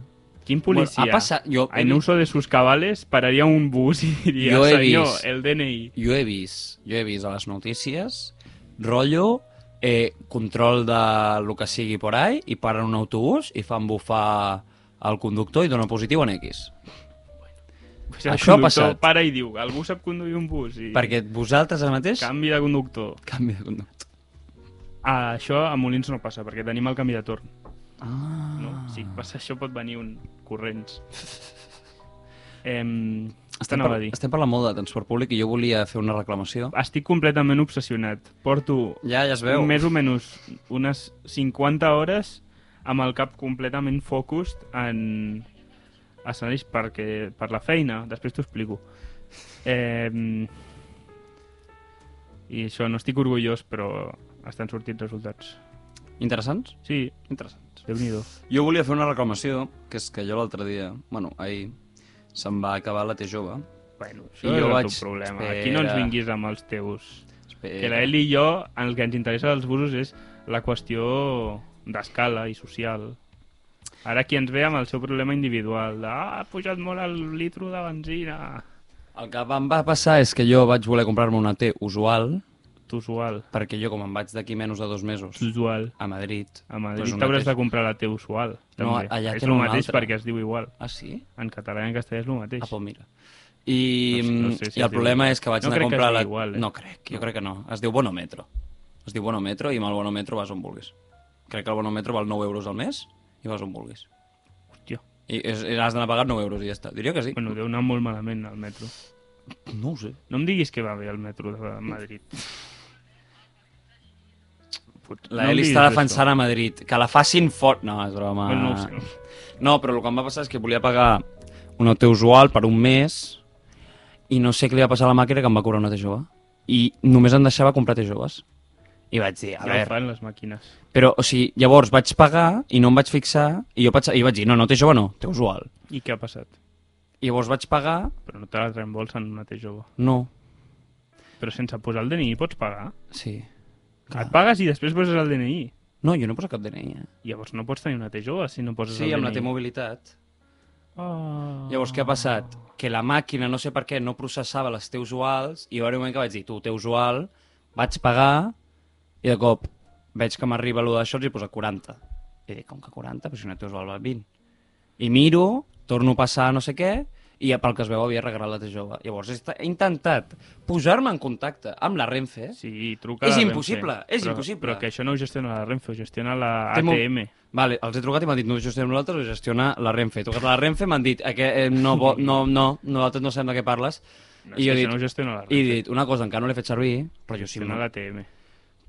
Speaker 13: Quin policia?
Speaker 12: Bueno, ha passat- jo he
Speaker 13: en
Speaker 12: vist-
Speaker 13: uso de sus cabales pararia un bus i diria,
Speaker 12: Jo he
Speaker 13: senyor,
Speaker 12: vist-
Speaker 13: el DNI.
Speaker 12: Jo he vist, jo he vist a les notícies, rotllo, eh, control de lo que sigui por ahí, i paren un autobús i fan bufar el conductor i dona positiu en X.
Speaker 13: Pues el
Speaker 12: Això ha
Speaker 13: conductor
Speaker 12: passat.
Speaker 13: Para i diu, algú sap conduir un bus. I...
Speaker 12: Perquè vosaltres ara mateix...
Speaker 13: Canvi de conductor.
Speaker 12: Canvi de conductor.
Speaker 13: Ah, això a Molins no passa, perquè tenim el canvi de torn. Ah. No, si passa això pot venir un corrents. Em...
Speaker 12: Estem,
Speaker 13: anava a
Speaker 12: par
Speaker 13: dir?
Speaker 12: estem parlant molt de transport públic i jo volia fer una reclamació.
Speaker 13: Estic completament obsessionat. Porto
Speaker 12: Ja, ja es veu.
Speaker 13: més o menys unes 50 hores amb el cap completament focused en escenaris perquè, per la feina. Després t'ho explico. Eh, I això, no estic orgullós, però estan sortint resultats.
Speaker 12: Interessants?
Speaker 13: Sí.
Speaker 12: Interessants.
Speaker 13: Déu-n'hi-do.
Speaker 12: Jo volia fer una reclamació, que és que jo l'altre dia, bueno, ahir, se'm va acabar la T jove.
Speaker 13: Bueno,
Speaker 12: I
Speaker 13: Això és
Speaker 12: jo
Speaker 13: el
Speaker 12: vaig...
Speaker 13: teu problema.
Speaker 12: Espera.
Speaker 13: Aquí no ens vinguis amb els teus...
Speaker 12: Espera.
Speaker 13: Que l'Eli i jo, el que ens interessa dels busos és la qüestió d'escala i social. Ara qui ens ve amb el seu problema individual de ah, ha pujat molt el litro de benzina.
Speaker 12: El que em va passar és que jo vaig voler comprar-me una T usual.
Speaker 13: Usual.
Speaker 12: Perquè jo, com em vaig d'aquí menys de dos mesos...
Speaker 13: Usual.
Speaker 12: A Madrid. doncs
Speaker 13: A Madrid t'hauràs de comprar la T usual.
Speaker 12: No,
Speaker 13: també.
Speaker 12: allà
Speaker 13: és
Speaker 12: tenen
Speaker 13: el
Speaker 12: una
Speaker 13: mateix
Speaker 12: altra.
Speaker 13: perquè es diu igual.
Speaker 12: Ah, sí?
Speaker 13: En català i en castellà és el mateix. Ah,
Speaker 12: doncs mira. I, mm,
Speaker 13: No sé- no sé si
Speaker 12: i
Speaker 13: es
Speaker 12: el
Speaker 13: diu
Speaker 12: problema
Speaker 13: igual.
Speaker 12: és que vaig
Speaker 13: No
Speaker 12: anar a
Speaker 13: crec que
Speaker 12: comprar...
Speaker 13: es
Speaker 12: la...
Speaker 13: diu igual, eh?
Speaker 12: No crec, jo crec que no. Es diu Bonometro. Es diu Bonometro i amb el Bonometro vas on vulguis. Crec que el Bonometro val 9 euros al mes i vas on vulguis.
Speaker 13: Hòstia.
Speaker 12: I, és, i has d'anar pagant 9 euros i ja està. Diria que sí.
Speaker 13: Bueno, deu anar molt malament al metro.
Speaker 12: No ho sé.
Speaker 13: No em diguis que va bé el metro de Madrid. Pot...
Speaker 12: La Eli està defensant a Madrid. Que la facin fort. No, és broma.
Speaker 13: Bueno, no ho sé, no ho sé.
Speaker 12: No, però el que em va passar és que volia pagar una T usual per un mes i no sé què li va passar a la màquina que em va cobrar una T jove. i només em deixava comprar té joves. I vaig dir, a
Speaker 13: Ja ho
Speaker 12: veure...
Speaker 13: fan les màquines.
Speaker 12: Però, o sigui, llavors vaig pagar i no em vaig fixar i jo, pensava, i vaig dir, no, no, té jove no, té usual.
Speaker 13: I què ha passat?
Speaker 12: I llavors vaig pagar...
Speaker 13: Però no te la reembolsen una té jove.
Speaker 12: No,
Speaker 13: Però sense posar el DNI pots pagar?
Speaker 12: Sí.
Speaker 13: Et pagues i després poses el DNI.
Speaker 12: no, jo no poso cap DNI. Eh?
Speaker 13: Llavors no pots tenir una T jove si no poses
Speaker 12: Sí,
Speaker 13: el DNI.
Speaker 12: amb la T-mobilitat.
Speaker 13: Oh.
Speaker 12: Llavors, què ha passat? Que la màquina, no sé per què, no processava les teus usuals i va haver un moment que vaig dir, tu, teu usual, vaig pagar i de cop veig que m'arriba allò d'això i posa 40. I dic, com que 40? Però si no teu usual val 20. I miro, torno a passar no sé què i pel que es veu havia regalat la T-jove. Llavors he esta- he intentat posar-me en contacte amb la Renfe.
Speaker 13: Sí, truca
Speaker 12: És
Speaker 13: a la
Speaker 12: impossible,
Speaker 13: Renfe.
Speaker 12: és
Speaker 13: però,
Speaker 12: impossible.
Speaker 13: Però que això no ho gestiona la Renfe, ho gestiona la
Speaker 12: Té molt-
Speaker 13: ATM.
Speaker 12: Vale, els he trucat i m'han dit, no ho gestionem nosaltres, ho gestiona la Renfe. He trucat a la Renfe, m'han dit, eh, que, eh, no, bo, no, no, nosaltres no sabem de què parles.
Speaker 13: No, és que això no ho gestiona la
Speaker 12: I he dit, una cosa, encara no l'he fet servir, però jo sí,
Speaker 13: Gestiona
Speaker 12: no,
Speaker 13: l'ATM.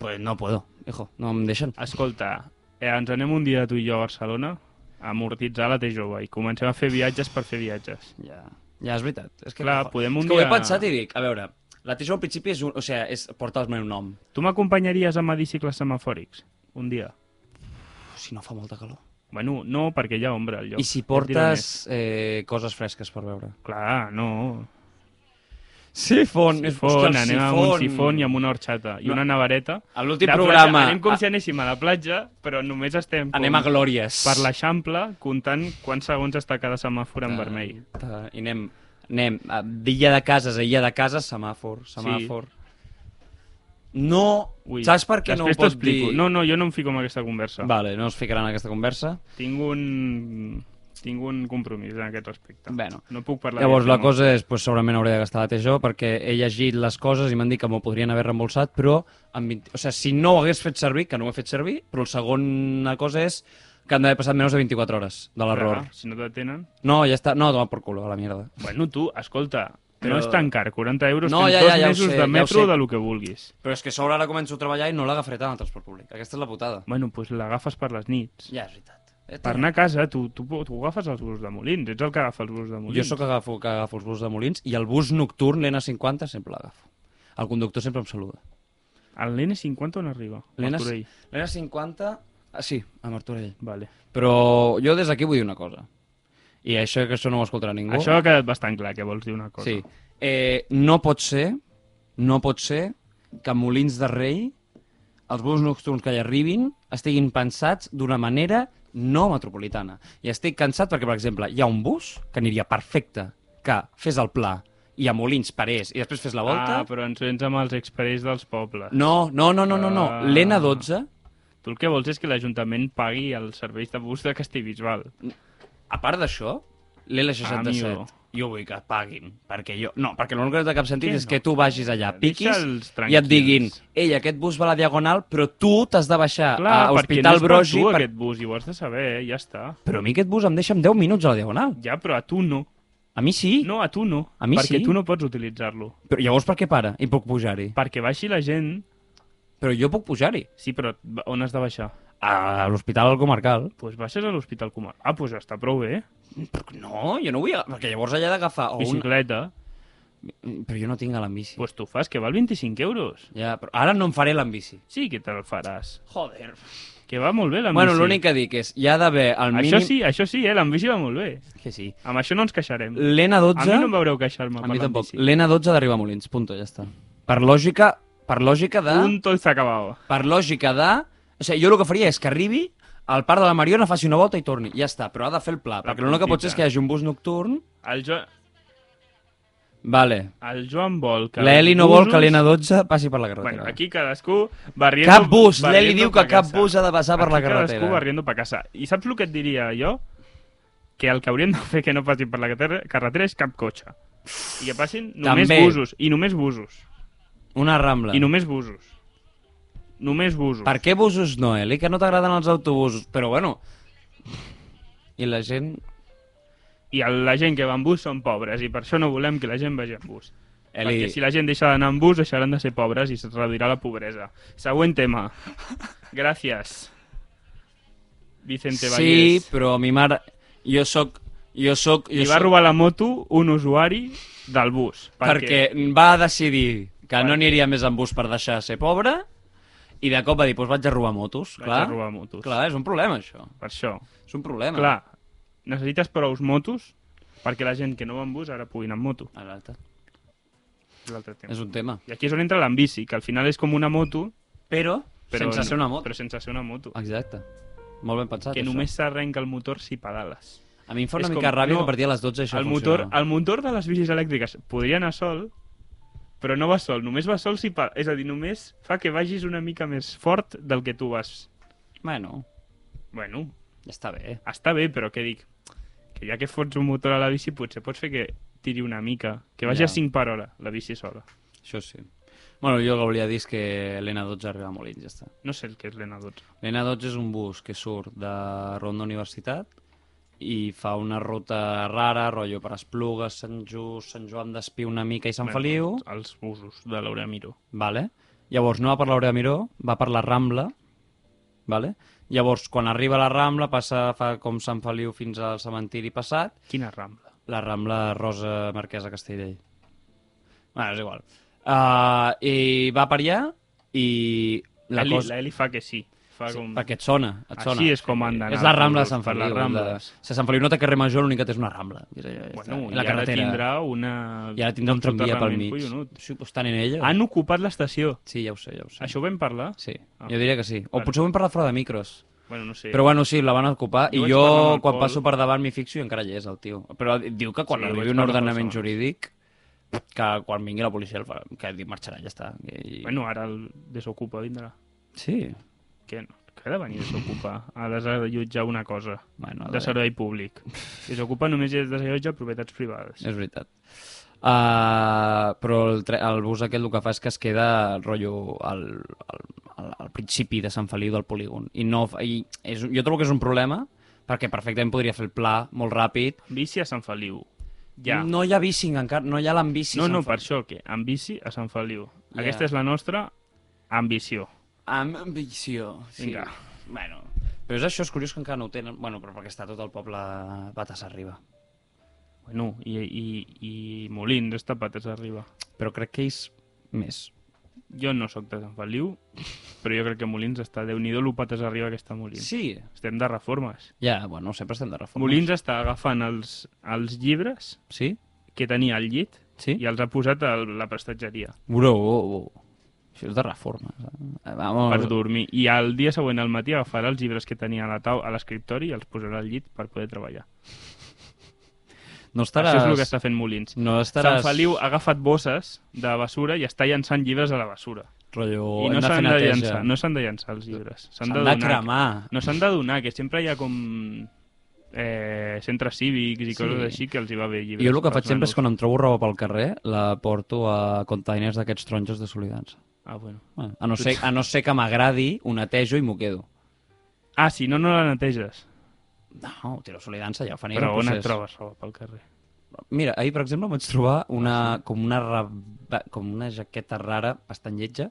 Speaker 12: pues no puedo, hijo, no em deixen.
Speaker 13: Escolta, eh, ens anem un dia tu i jo a Barcelona a amortitzar la T jove i comencem a fer viatges per fer viatges.
Speaker 12: Ja, ja és veritat. És que,
Speaker 13: Clar, podem un
Speaker 12: és que ho he
Speaker 13: dia-
Speaker 12: pensat i dic, a veure, la T-Jove al principi és, un, o sigui, és portar el meu nom.
Speaker 13: Tu m'acompanyaries a medicicles semafòrics un dia?
Speaker 12: Si no fa molta calor.
Speaker 13: Bueno, no, perquè hi ha ombra al lloc.
Speaker 12: I si
Speaker 13: Et diré
Speaker 12: portes
Speaker 13: més.
Speaker 12: eh, coses fresques per veure?
Speaker 13: Clar, no.
Speaker 12: Sifon, és-
Speaker 13: sifon,
Speaker 12: hòstia, el
Speaker 13: anem amb un
Speaker 12: sifon.
Speaker 13: sifon i amb una horxata i
Speaker 12: No.
Speaker 13: una nevareta.
Speaker 12: A l'últim
Speaker 13: De platja,
Speaker 12: programa.
Speaker 13: Anem com si anéssim a la platja, però només estem... Com
Speaker 12: Anem a glòries.
Speaker 13: Per l'Eixample, comptant quants segons està cada semàfor en vermell.
Speaker 12: Ta- I anem, anem a- d'illa de cases a illa de cases, semàfor, semàfor. No, saps per què no ho
Speaker 13: després t'ho
Speaker 12: pots
Speaker 13: explico.
Speaker 12: dir?
Speaker 13: No, no, jo no em fico en aquesta conversa.
Speaker 12: Vale, no es ficaran en aquesta conversa.
Speaker 13: Tinc un... Tinc un compromís en aquest respecte.
Speaker 12: Bueno.
Speaker 13: No puc parlar
Speaker 12: Llavors
Speaker 13: d'aquest
Speaker 12: la
Speaker 13: tema.
Speaker 12: cosa és, pues, segurament hauré de gastar la TJO perquè he llegit les coses i m'han dit que m'ho podrien haver reembolsat, però amb 20... o sigui, si no ho hagués fet servir, que no ho he fet servir, però la segona cosa és que han d'haver passat menys de 24 hores de l'error.
Speaker 13: Clar, Si no t'atenen...
Speaker 12: No, ja està. No, toma por culo, a la mierda.
Speaker 13: Bueno, tu, escolta,
Speaker 12: Però-
Speaker 13: no és tan car. 40 euros,
Speaker 12: No,
Speaker 13: tens
Speaker 12: ja,
Speaker 13: dos
Speaker 12: ja, ja ho
Speaker 13: mesos
Speaker 12: sé, ja
Speaker 13: de
Speaker 12: ho
Speaker 13: metro
Speaker 12: sé.
Speaker 13: de lo que vulguis.
Speaker 12: Però és que a sobre ara començo a treballar i no l'agafaré tant al transport públic. Aquesta és la putada.
Speaker 13: Bueno, doncs pues l'agafes per les nits.
Speaker 12: Ja, és veritat. Eh,
Speaker 13: Per
Speaker 12: té-
Speaker 13: anar a casa, tu, tu, tu agafes els busos de Molins, ets el que agafa els busos de Molins.
Speaker 12: Jo sóc que agafo, que agafo els busos de Molins i el bus nocturn, l'N50, sempre l'agafo. El conductor sempre em saluda.
Speaker 13: El l'N50 on arriba? Martorell.
Speaker 12: L'N50... Ah, sí, a Martorell.
Speaker 13: Vale.
Speaker 12: Però jo des d'aquí vull dir una cosa. I això que això no ho escoltarà ningú.
Speaker 13: Això ha quedat bastant clar, que vols dir una cosa.
Speaker 12: Sí. Eh, no pot ser, no pot ser que a Molins de Rei els busos nocturns que hi arribin estiguin pensats d'una manera no metropolitana. I estic cansat perquè, per exemple, hi ha un bus que aniria perfecte, que fes el pla i a Molins parés i després fes la volta.
Speaker 13: Ah, però ens vens amb els experts dels pobles.
Speaker 12: No, no, no, no, no, no.
Speaker 13: Ah.
Speaker 12: L'N12,
Speaker 13: Tu el que vols és que l'Ajuntament pagui els serveis de bus de Castellbisbal.
Speaker 12: a part d'això, l'L67,
Speaker 13: Amigo.
Speaker 12: jo vull que paguin, perquè jo... No, perquè l'únic que no té cap sentit
Speaker 13: Què
Speaker 12: és
Speaker 13: no?
Speaker 12: que tu vagis allà,
Speaker 13: Deixa'ls
Speaker 12: piquis, i et
Speaker 13: tranquils.
Speaker 12: diguin, ei, aquest bus va a la diagonal, però tu t'has de baixar
Speaker 13: Clar,
Speaker 12: a
Speaker 13: perquè
Speaker 12: Hospital
Speaker 13: no és per
Speaker 12: Brogi...
Speaker 13: tu, aquest bus, i ho has de saber, eh? ja està.
Speaker 12: Però a mi aquest bus em deixa en 10 minuts a la diagonal.
Speaker 13: Ja, però a tu no.
Speaker 12: A mi sí.
Speaker 13: No, a tu no.
Speaker 12: A mi
Speaker 13: perquè
Speaker 12: sí.
Speaker 13: tu no pots utilitzar-lo.
Speaker 12: Però llavors per què para? I puc pujar-hi?
Speaker 13: Perquè baixi la gent...
Speaker 12: Però jo puc pujar-hi.
Speaker 13: Sí, però on has de baixar?
Speaker 12: A l'Hospital Comarcal.
Speaker 13: Doncs pues baixes a l'Hospital Comarcal. Ah, doncs pues està prou bé.
Speaker 12: No, jo no vull... agafar- Perquè llavors allà he d'agafar... o un-
Speaker 13: Bicicleta.
Speaker 12: Però jo no tinc a l'ambici.
Speaker 13: Doncs pues tu fas, que val 25 euros.
Speaker 12: Ja, però ara no em faré l'ambici.
Speaker 13: Sí que te'l faràs.
Speaker 12: Joder.
Speaker 13: Que va molt bé l'ambici.
Speaker 12: Bueno, l'únic que dic és, hi ha d'haver al mínim...
Speaker 13: Això sí, això sí, eh? L'ambici va molt bé.
Speaker 12: Que sí.
Speaker 13: Amb això no ens queixarem.
Speaker 12: L'N12...
Speaker 13: A mi no em veureu queixar-me
Speaker 12: A
Speaker 13: per
Speaker 12: mi tampoc.
Speaker 13: l'ambici.
Speaker 12: L'N12 d'arribar a Molins, punto, ja està. Per lògica, per lògica de...
Speaker 13: Punto i s'acabava.
Speaker 12: Per lògica de... O sigui, jo el que faria és que arribi al parc de la Mariona, faci una volta i torni. Ja està, però ha de fer el pla. perquè l'únic que pot ser és que hi hagi un bus nocturn...
Speaker 13: El, jo...
Speaker 12: Vale.
Speaker 13: el Joan vol que...
Speaker 12: La Eli
Speaker 13: els
Speaker 12: no vol que
Speaker 13: busos-
Speaker 12: l'N12 passi per la
Speaker 13: Bueno,
Speaker 12: carretera.
Speaker 13: aquí cadascú barriendo...
Speaker 12: Cap bus! L'Eli
Speaker 13: barriendo
Speaker 12: diu que
Speaker 13: pa
Speaker 12: cap
Speaker 13: casa.
Speaker 12: bus ha de passar per
Speaker 13: Aquí
Speaker 12: la
Speaker 13: cadascú
Speaker 12: carretera.
Speaker 13: barriendo pa casa. I saps el que et diria jo? Que el que haurien de fer que no passin per la carretera, carretera és cap cotxe. I que passin només
Speaker 12: També.
Speaker 13: busos. I només busos.
Speaker 12: Una rambla.
Speaker 13: I només busos. Només busos.
Speaker 12: Per què busos no, Eli? Que no t'agraden els autobusos. Però bueno... I la gent...
Speaker 13: I el, la gent que va en bus són pobres i per això no volem que la gent vagi en bus.
Speaker 12: Eli-
Speaker 13: Perquè si la gent deixa d'anar en bus deixaran de ser pobres i es reduirà la pobresa. Següent tema. Gràcies. Vicente
Speaker 12: Sí,
Speaker 13: Vallès.
Speaker 12: però a mi mare... Jo sóc... Jo sóc... Jo
Speaker 13: Li va
Speaker 12: sóc-
Speaker 13: robar la moto un usuari del bus.
Speaker 12: Perquè va decidir, que no aniria més amb bus per deixar de ser pobre, i de cop va dir, doncs vaig a robar motos,
Speaker 13: Vaig
Speaker 12: clar.
Speaker 13: a robar motos.
Speaker 12: Clar, és un problema, això.
Speaker 13: Per això.
Speaker 12: És un problema.
Speaker 13: Clar, necessites prous motos perquè la gent que no va amb bus ara pugui anar amb moto.
Speaker 12: Exacte.
Speaker 13: És l'altre tema.
Speaker 12: És un tema.
Speaker 13: I aquí és on entra l'ambici, que al final és com una moto...
Speaker 12: Però, sense ser una moto.
Speaker 13: Però sense ser una moto.
Speaker 12: Exacte. Molt ben pensat,
Speaker 13: que
Speaker 12: això.
Speaker 13: només s'arrenca el motor si pedales.
Speaker 12: A mi em fa una mica ràbia que a partir de les 12 això
Speaker 13: el
Speaker 12: funciona.
Speaker 13: motor, el motor de les bicis elèctriques podria anar sol, però no va sol. Només va sol si... pa- És a dir, només fa que vagis una mica més fort del que tu vas.
Speaker 12: Bueno.
Speaker 13: Bueno.
Speaker 12: Està bé.
Speaker 13: Està bé, però què dic? Que ja que fots un motor a la bici, potser pots fer que tiri una mica. Que vagi
Speaker 12: Ja.
Speaker 13: a 5 per hora, la bici sola.
Speaker 12: Això sí. Bueno, jo el que volia dir és que l'N12 arriba a Molins, ja està.
Speaker 13: No sé el que és l'N12.
Speaker 12: L'N12 és un bus que surt de Ronda Universitat i fa una ruta rara, rotllo per Esplugues, Sant Just, Sant Joan d'Espí una mica i Sant
Speaker 13: Bueno,
Speaker 12: Feliu.
Speaker 13: Els busos de l'Aurea Miró.
Speaker 12: Vale. Llavors no va per l'Aurea Miró, va per la Rambla. Vale. Llavors, quan arriba a la Rambla, passa, fa com Sant Feliu fins al cementiri passat.
Speaker 13: Quina Rambla?
Speaker 12: La Rambla Rosa Marquesa Castellell. Bueno, és igual. Uh, I va per allà i la
Speaker 13: Eli,
Speaker 12: cosa...
Speaker 13: L'Eli fa que sí. Fa
Speaker 12: Sí,
Speaker 13: com...
Speaker 12: perquè et sona, et sona.
Speaker 13: Així és com han d'anar.
Speaker 12: És la Rambla de
Speaker 13: per-
Speaker 12: Sant
Speaker 13: per
Speaker 12: Feliu.
Speaker 13: les Rambles.
Speaker 12: De... Si a Sant Feliu no té carrer major, l'únic que té és una Rambla. I, és allò, ja
Speaker 13: Bueno,
Speaker 12: està.
Speaker 13: i ara tindrà una-
Speaker 12: I ara tindrà un tramvia pel
Speaker 13: soterrament,
Speaker 12: mig.
Speaker 13: collonut.
Speaker 12: Sí, però estan en ella.
Speaker 13: Han ocupat l'estació.
Speaker 12: Sí, ja ho sé, ja ho sé.
Speaker 13: Això ho vam parlar?
Speaker 12: Sí,
Speaker 13: Ah.
Speaker 12: jo diria que sí. O
Speaker 13: Vale.
Speaker 12: potser ho hem parlat fora de micros.
Speaker 13: Bueno, no sé.
Speaker 12: Però bueno, sí, la van ocupar
Speaker 13: Jo
Speaker 12: i
Speaker 13: vaig
Speaker 12: jo
Speaker 13: parlar amb el
Speaker 12: quan
Speaker 13: Pol.
Speaker 12: passo per davant m'hi fixo i encara hi és el tio. Però diu que quan
Speaker 13: Sí,
Speaker 12: sí,
Speaker 13: jo
Speaker 12: arribi
Speaker 13: vaig
Speaker 12: un
Speaker 13: parlar amb
Speaker 12: ordenament
Speaker 13: persones.
Speaker 12: jurídic que quan vingui la policia el farà, que diu marxarà, ja està. I...
Speaker 13: Bueno, ara el desocupa vindrà.
Speaker 12: Sí.
Speaker 13: Que no. Que ha de venir desocupa. Ha de desallotjar una cosa.
Speaker 12: Bueno,
Speaker 13: de servei públic. Desocupa només és desallotja propietats privades.
Speaker 12: És veritat. Uh, però el, tre- el bus aquest el que fa és que es queda el rotllo al, al, al, al principi de Sant Feliu del polígon. I, no, fa- i és, jo trobo que és un problema, perquè perfectament podria fer el pla molt ràpid.
Speaker 13: Bici a Sant Feliu. Ja.
Speaker 12: No hi ha bici encara, no hi ha l'ambici.
Speaker 13: no, no, per això que amb bici a Sant Feliu.
Speaker 12: Ja.
Speaker 13: Aquesta és la nostra ambició.
Speaker 12: Amb ambició, sí.
Speaker 13: Vinga.
Speaker 12: Bueno, però és això, és curiós que encara no ho tenen. Bueno, però perquè està tot el poble patas arriba.
Speaker 13: Bueno, i, i, i Molins està pates arriba.
Speaker 12: Però crec que ells més.
Speaker 13: Jo no sóc de Sant Feliu, però jo crec que Molins està... déu nhi lo pates arriba que està Molins.
Speaker 12: Sí.
Speaker 13: Estem de reformes.
Speaker 12: Ja, bueno, sempre estem de reformes.
Speaker 13: Molins està agafant els, els llibres
Speaker 12: sí?
Speaker 13: que tenia al llit
Speaker 12: sí?
Speaker 13: i els ha posat a la prestatgeria
Speaker 12: Bro, oh, oh. això és de reforma. eh? Vamos.
Speaker 13: per dormir. I al dia següent al matí agafarà els llibres que tenia a la tau a l'escriptori i els posarà al llit per poder treballar.
Speaker 12: No estaràs...
Speaker 13: Això és el que està fent Molins.
Speaker 12: No estaràs...
Speaker 13: Sant Feliu ha agafat bosses de basura i està llançant llibres a la basura.
Speaker 12: Rotllo,
Speaker 13: I
Speaker 12: Oh, hem
Speaker 13: no
Speaker 12: de fer
Speaker 13: s'han de,
Speaker 12: neteja.
Speaker 13: llançar, no s'han de llançar els llibres. S'han
Speaker 12: S'han
Speaker 13: de,
Speaker 12: de
Speaker 13: donar.
Speaker 12: cremar.
Speaker 13: No s'han de donar, que sempre hi ha com eh, centres cívics i coses
Speaker 12: Sí.
Speaker 13: així que els hi va bé llibres.
Speaker 12: Jo el que
Speaker 13: pels
Speaker 12: faig sempre
Speaker 13: nanos.
Speaker 12: és quan em trobo roba pel carrer, la porto a containers d'aquests taronges de solidança.
Speaker 13: Ah, bueno.
Speaker 12: Bueno, a, no ser, a no ser que m'agradi, ho netejo i m'ho quedo.
Speaker 13: Ah, si no, no la neteges.
Speaker 12: No, tiro solidança, ja ho fan ells,
Speaker 13: Però
Speaker 12: el
Speaker 13: on et
Speaker 12: procés.
Speaker 13: trobes roba pel carrer? Ah,
Speaker 12: Mira, ahir, per exemple, em vaig trobar una, com, una, raba- com una jaqueta rara, bastant lletja,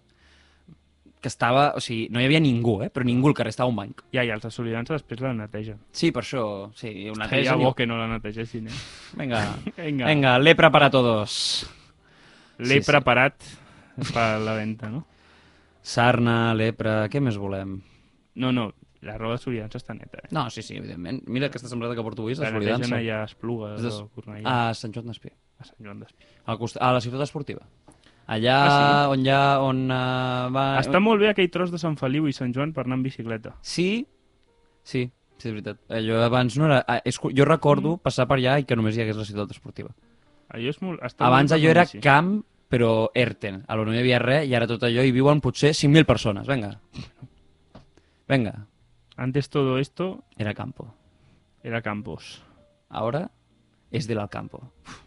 Speaker 12: que estava... O sigui, no hi havia ningú, eh? Però ningú al carrer, estava un banc.
Speaker 13: Ja, i els de solidança després la netegen.
Speaker 12: Sí, per això... Sí, ho netegen
Speaker 13: Estaria
Speaker 12: i-
Speaker 13: bo que no la netegessin, eh?
Speaker 12: Vinga,
Speaker 13: Vinga.
Speaker 12: Venga. Venga, lepra para todos.
Speaker 13: L'he preparat per la venda, no?
Speaker 12: Sarna, lepra, què més volem?
Speaker 13: No, no, la roba de solidança està neta, eh?
Speaker 12: No, sí, sí, evidentment. Mira aquesta sembrada que porto avui, és de
Speaker 13: La netegen
Speaker 12: solidança.
Speaker 13: allà a Esplugues
Speaker 12: És
Speaker 13: o a Cornellà.
Speaker 12: A Sant Joan d'Espí.
Speaker 13: A Sant Joan d'Espí.
Speaker 12: Al cost... A la ciutat esportiva. Allà
Speaker 13: Ah,
Speaker 12: ah, sí? on hi ha... On, uh, va...
Speaker 13: Està molt bé aquell tros de Sant Feliu i Sant Joan per anar en bicicleta.
Speaker 12: Sí, sí, sí, és veritat. Allò abans no era... ah, És... cu- Jo recordo passar per allà i que només hi hagués la ciutat esportiva.
Speaker 13: Mm. Allò és molt... Està
Speaker 12: Abans
Speaker 13: molt bé
Speaker 12: allò
Speaker 13: per
Speaker 12: era
Speaker 13: bici.
Speaker 12: camp, però Erten. A l'on no hi havia res i ara tot allò hi viuen potser 5.000 persones. Vinga. Vinga.
Speaker 13: Antes todo esto...
Speaker 12: Era campo.
Speaker 13: Era campos.
Speaker 12: Ahora es del Alcampo. Uf,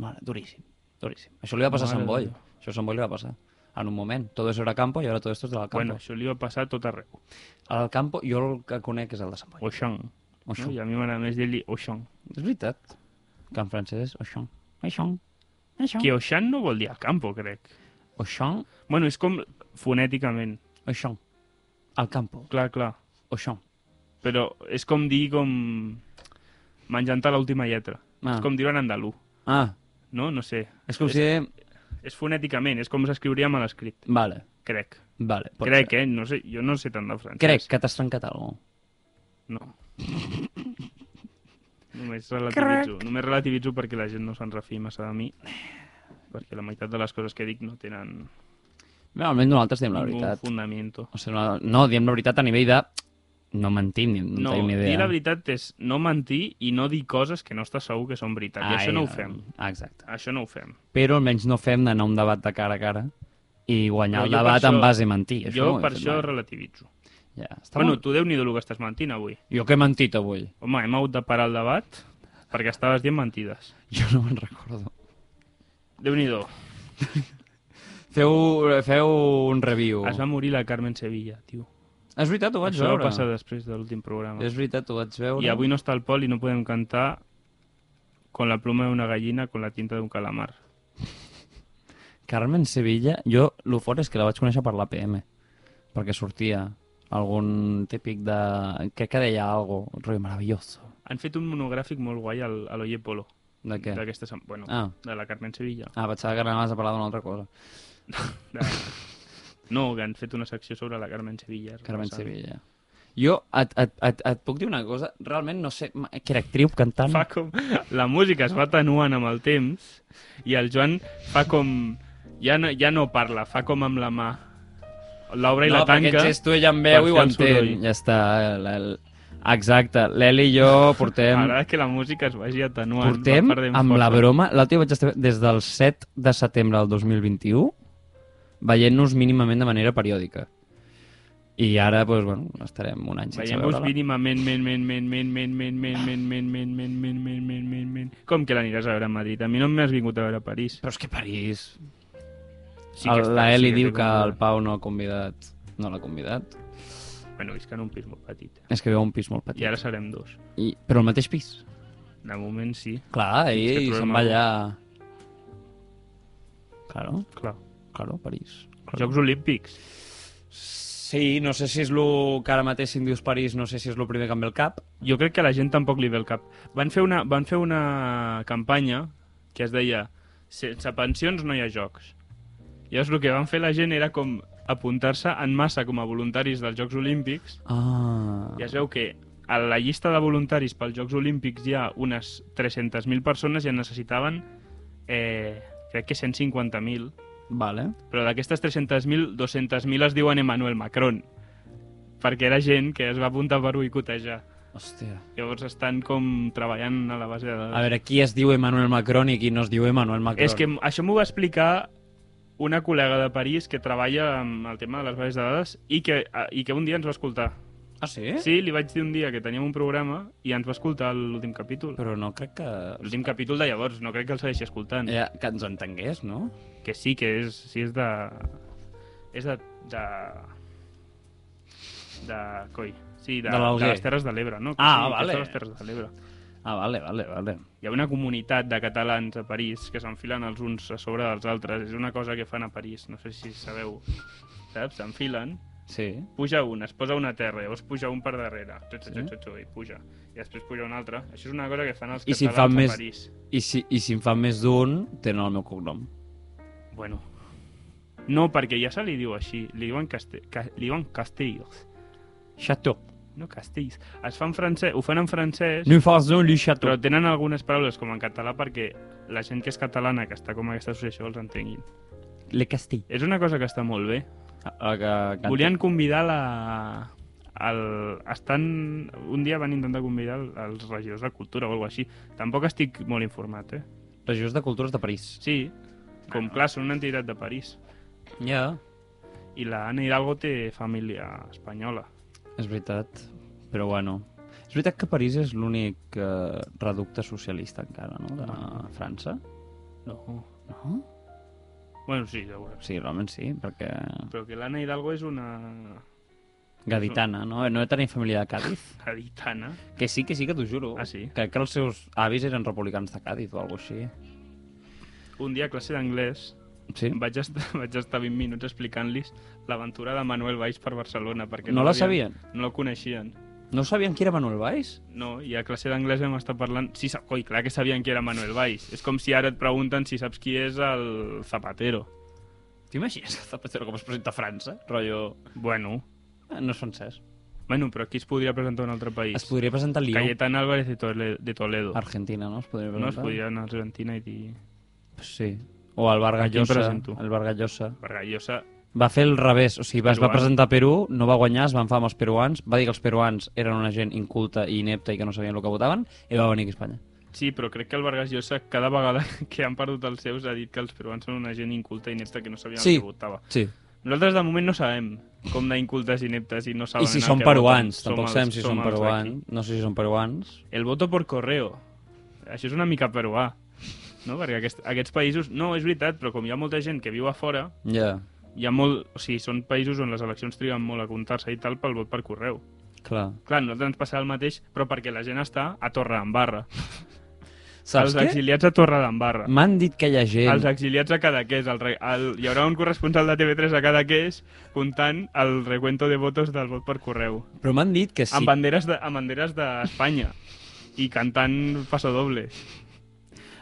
Speaker 12: Mare, duríssim, duríssim. Això li va passar a
Speaker 13: Mare
Speaker 12: Sant
Speaker 13: de
Speaker 12: Boi.
Speaker 13: Déu.
Speaker 12: Això a Sant Boi li va passar. En un moment. Todo eso era campo i ara todo esto es del Alcampo.
Speaker 13: Bueno, això li va passar a tot arreu.
Speaker 12: A l'Alcampo jo el que conec és el de Sant Boi.
Speaker 13: Oixan.
Speaker 12: Oixan.
Speaker 13: No? I a mi m'agrada més dir-li Oixan.
Speaker 12: És veritat. Que en francès és Oixan. Oixan. Oixan.
Speaker 13: Que Oixan no vol dir a campo, crec.
Speaker 12: Oixan.
Speaker 13: Bueno, és com fonèticament.
Speaker 12: Oixan. Al campo.
Speaker 13: Clar, clar.
Speaker 12: Oixan.
Speaker 13: Però és com dir com... Menjant-te l'última lletra.
Speaker 12: Ah.
Speaker 13: És com dir-ho en andalú.
Speaker 12: Ah,
Speaker 13: No? No sé.
Speaker 12: és com si...
Speaker 13: És fonèticament, és com s'escriuria a l'escrit.
Speaker 12: Vale.
Speaker 13: Crec.
Speaker 12: Vale, pot
Speaker 13: Crec, eh? No sé, jo no sé tant de francès.
Speaker 12: Crec que t'has trencat alguna
Speaker 13: No. Només relativitzo,
Speaker 12: Crac.
Speaker 13: només relativitzo perquè la gent no se'n refi massa de mi, perquè la meitat de les coses que dic no tenen...
Speaker 12: No, almenys nosaltres diem la
Speaker 13: Ningún
Speaker 12: veritat.
Speaker 13: fundamento.
Speaker 12: O sigui, no, no, diem la veritat a nivell de... No mentim, no, no
Speaker 13: No,
Speaker 12: tenim ni idea.
Speaker 13: dir la veritat és no mentir i no dir coses que no estàs segur que són veritat. I
Speaker 12: Ai,
Speaker 13: això no ho
Speaker 12: no.
Speaker 13: fem.
Speaker 12: Exacte.
Speaker 13: Això no ho fem.
Speaker 12: Però almenys no fem d'anar a un debat de cara a cara i guanyar
Speaker 13: Però
Speaker 12: el
Speaker 13: jo per
Speaker 12: debat
Speaker 13: això-
Speaker 12: en base a mentir. Això
Speaker 13: Jo
Speaker 12: no ho he
Speaker 13: per
Speaker 12: fet
Speaker 13: això
Speaker 12: mai.
Speaker 13: relativitzo.
Speaker 12: Ja, està
Speaker 13: Bueno,
Speaker 12: molt-
Speaker 13: tu déu nhi del que estàs mentint avui.
Speaker 12: Jo que he mentit avui.
Speaker 13: Home, hem hagut de parar el debat perquè estaves dient mentides.
Speaker 12: Jo no me'n recordo.
Speaker 13: Déu-n'hi-do.
Speaker 12: Feu, feu un review.
Speaker 13: Es va morir la Carmen Sevilla, tio.
Speaker 12: És veritat, ho vaig
Speaker 13: Això
Speaker 12: veure.
Speaker 13: va passar després de l'últim programa.
Speaker 12: És veritat, ho vaig veure.
Speaker 13: I avui no està el Pol i no podem cantar con la pluma d'una gallina, con la tinta d'un calamar.
Speaker 12: Carmen Sevilla, jo lo fort és que la vaig conèixer per l'APM, perquè sortia algun típic de... Crec que deia algo, un rotllo maravilloso.
Speaker 13: Han fet un monogràfic molt guai al, a l'Oye Polo.
Speaker 12: De què?
Speaker 13: D'aquesta sem- Bueno,
Speaker 12: Ah.
Speaker 13: de la Carmen Sevilla.
Speaker 12: Ah, pensava que anaves a parlar d'una altra cosa.
Speaker 13: De... No, que han fet una secció sobre la Carmen Sevilla. és
Speaker 12: Carmen
Speaker 13: repassant.
Speaker 12: Sevilla. Jo et, et, et, et puc dir una cosa? Realment no sé... ma- Que era actriu, cantant...
Speaker 13: Fa com... La música es va atenuant amb el temps i el Joan fa com... Ja no, ja no parla, fa com amb la mà. L'obre i
Speaker 12: no,
Speaker 13: la tanca.
Speaker 12: perquè ets tu, ella em
Speaker 13: per
Speaker 12: veu i ho
Speaker 13: fer el
Speaker 12: entén.
Speaker 13: soroll.
Speaker 12: Ja està. eh, la- el- Exacte. L'Eli i jo portem...
Speaker 13: M'agrada que la música es vagi atenuant. va
Speaker 12: Portem
Speaker 13: perdent
Speaker 12: amb la
Speaker 13: força.
Speaker 12: broma, l'altre dia vaig estar des del 7 de setembre del 2021 veient-nos mínimament de manera periòdica. I ara, doncs, bueno, estarem un any sense
Speaker 13: Veiem-vos
Speaker 12: veure-la.
Speaker 13: mínimament, men, men, men, men, men, men, men, men, men, men, men, men, men, men, men, men... Com que l'aniràs a veure a Madrid? A mi no m'has vingut a veure a París.
Speaker 12: Però és que París...
Speaker 13: Sí que
Speaker 12: El-
Speaker 13: està,
Speaker 12: la
Speaker 13: sí
Speaker 12: Eli
Speaker 13: que
Speaker 12: diu
Speaker 13: té
Speaker 12: que
Speaker 13: com-
Speaker 12: el Pau no ha convidat... No l'ha convidat.
Speaker 13: Bueno, visc en un pis molt petit. eh?
Speaker 12: És que viu a un pis molt petit.
Speaker 13: I ara serem dos.
Speaker 12: I... Però al mateix pis.
Speaker 13: De moment sí.
Speaker 12: Clar,
Speaker 13: Fins que
Speaker 12: i, i
Speaker 13: trobem
Speaker 12: se'n va
Speaker 13: algú.
Speaker 12: allà... Claro.
Speaker 13: Clar.
Speaker 12: Claro, París. Claro.
Speaker 13: Jocs Olímpics.
Speaker 12: Sí, no sé si és lo que ara mateix si em dius París, no sé si és el primer que em ve al cap.
Speaker 13: Jo crec que a la gent tampoc li ve el cap. Van fer una, van fer una campanya que es deia sense pensions no hi ha jocs. I llavors el que van fer la gent era com apuntar-se en massa com a voluntaris dels Jocs Olímpics
Speaker 12: Ah.
Speaker 13: i es veu que a la llista de voluntaris pels Jocs Olímpics hi ha unes 300.000 persones i en necessitaven eh, crec que 150.000
Speaker 12: Vale.
Speaker 13: però d'aquestes 300.000 200.000 es diuen Emmanuel Macron perquè era gent que es va apuntar per boicotejar
Speaker 12: Hòstia.
Speaker 13: llavors estan com treballant a la base de...
Speaker 12: A veure, qui es diu Emmanuel Macron i qui no es diu Emmanuel Macron?
Speaker 13: és que m- això m'ho va explicar una col·lega de París que treballa amb el tema de les bases de dades i que, a- i que un dia ens va escoltar
Speaker 12: Ah, sí?
Speaker 13: Sí, li vaig dir un dia que teníem un programa i ens va escoltar l'últim capítol.
Speaker 12: Però no crec que...
Speaker 13: L'últim capítol de llavors, no crec que el segueixi escoltant.
Speaker 12: Ja, que ens entengués, no?
Speaker 13: Que sí, que és, sí, és de... És de... de... de... coi. Sí, de,
Speaker 12: De l'Alguer.
Speaker 13: de les Terres de l'Ebre, no? Que
Speaker 12: Ah,
Speaker 13: sí, que
Speaker 12: vale.
Speaker 13: és de les Terres de l'Ebre.
Speaker 12: Ah, vale, vale, vale.
Speaker 13: Hi ha una comunitat de catalans a París que s'enfilen els uns a sobre dels altres. És una cosa que fan a París, no sé si sabeu. Saps? S'enfilen
Speaker 12: Sí.
Speaker 13: puja un, es posa una a terra, llavors puja un per darrere, tu, tu, tu,
Speaker 12: Sí.
Speaker 13: tu, tu, i puja, i després puja un altre. Això és una cosa que fan els
Speaker 12: I si en
Speaker 13: catalans
Speaker 12: fan
Speaker 13: a
Speaker 12: més...
Speaker 13: París.
Speaker 12: I si, I si en fan més d'un, tenen el meu cognom.
Speaker 13: Bueno. No, perquè ja se li diu així, li diuen, caste... ca... li diuen castells.
Speaker 12: Chateau.
Speaker 13: No castells. Es fan francès, ho fan en francès,
Speaker 12: No fas no, li chateau.
Speaker 13: però tenen algunes paraules com en català perquè la gent que és catalana, que està com aquesta associació, els entenguin.
Speaker 12: Le Castell.
Speaker 13: És una cosa que està molt bé.
Speaker 12: Ah, que canta.
Speaker 13: Volien convidar la... El, estan, un dia van intentar convidar el- els regidors de cultura o alguna així. Tampoc estic molt informat, eh?
Speaker 12: Regidors de Cultures de París.
Speaker 13: Sí, com clar, són una entitat de París.
Speaker 12: Ja. Yeah.
Speaker 13: I la Ana Hidalgo té família espanyola.
Speaker 12: És veritat, però bueno... És veritat que París és l'únic eh, reducte socialista encara, no?, de França.
Speaker 13: No.
Speaker 12: No?
Speaker 13: Bueno, sí, segur.
Speaker 12: Sí, realment sí, perquè...
Speaker 13: Però que l'Anna Hidalgo és una
Speaker 12: Gaditana, no? No tenia família de Cádiz.
Speaker 13: gaditana.
Speaker 12: Que sí, que sí, que t'ho juro.
Speaker 13: Ah, sí?
Speaker 12: Crec que els seus avis eren republicans de Cádiz o alguna així.
Speaker 13: Un dia a classe d'anglès
Speaker 12: Sí?
Speaker 13: vaig, estar, vaig estar 20 minuts explicant-los l'aventura de Manuel Valls per Barcelona. Perquè
Speaker 12: No la
Speaker 13: l'havien-
Speaker 12: sabien?
Speaker 13: No la coneixien.
Speaker 12: No sabien qui era Manuel Valls?
Speaker 13: No, i a classe d'anglès vam estar parlant... Sí, sa- coi, clar que sabien qui era Manuel Valls. És com si ara et pregunten si saps qui és el Zapatero. T'imagines el Zapatero com es presenta a França? Rollo... Bueno.
Speaker 12: Eh,
Speaker 13: No és francès. Bueno, però qui es podria presentar a un altre país?
Speaker 12: Es podria presentar a Lió.
Speaker 13: Cayetán Álvarez de Toledo. De Toledo.
Speaker 12: Argentina, no? Es podria
Speaker 13: No es
Speaker 12: presentar?
Speaker 13: podria anar a Argentina i dir...
Speaker 12: Sí. O el
Speaker 13: A qui em
Speaker 12: Vargallosa.
Speaker 13: presento?
Speaker 12: El Vargallosa.
Speaker 13: Vargallosa...
Speaker 12: Va fer el revés, o sigui, va, es va
Speaker 13: Peruà.
Speaker 12: presentar a Perú, no va guanyar, es van enfadar amb els peruans, va dir que els peruans eren una gent inculta i inepta i que no sabien el que votaven, i va venir aquí a Espanya.
Speaker 13: Sí, però crec que el Vargas Llosa cada vegada que han perdut els seus ha dit que els peruans són una gent inculta i inepta que no sabien
Speaker 12: Sí,
Speaker 13: el que votava.
Speaker 12: sí.
Speaker 13: Nosaltres de moment no sabem com d'incultes i ineptes i no saben
Speaker 12: I si
Speaker 13: el
Speaker 12: són
Speaker 13: que
Speaker 12: peruans,
Speaker 13: voten.
Speaker 12: tampoc
Speaker 13: Som
Speaker 12: sabem
Speaker 13: els-
Speaker 12: si
Speaker 13: som
Speaker 12: són
Speaker 13: els
Speaker 12: peruans, no sé si són peruans.
Speaker 13: d'aquí. El voto por correo. Això és una mica peruà. No? Perquè aquest, aquests països... No, és veritat, però com hi ha molta gent que viu a fora,
Speaker 12: Ja,
Speaker 13: hi ha molt... O sigui, són països on les eleccions triguen molt a comptar-se i tal pel vot per correu.
Speaker 12: clar.
Speaker 13: Clar, a nosaltres ens passarà el mateix, però perquè la gent està a Torre d'Embarra.
Speaker 12: Saps
Speaker 13: els
Speaker 12: què?
Speaker 13: exiliats a Torre d'Embarra.
Speaker 12: M'han dit que hi ha gent...
Speaker 13: Els exiliats a Cadaqués. El, re- el, hi haurà un corresponsal de TV3 a Cadaqués comptant el recuento de votos del vot per correu.
Speaker 12: Però m'han dit que sí.
Speaker 13: Amb banderes de- amb banderes d'Espanya. I cantant passadobles.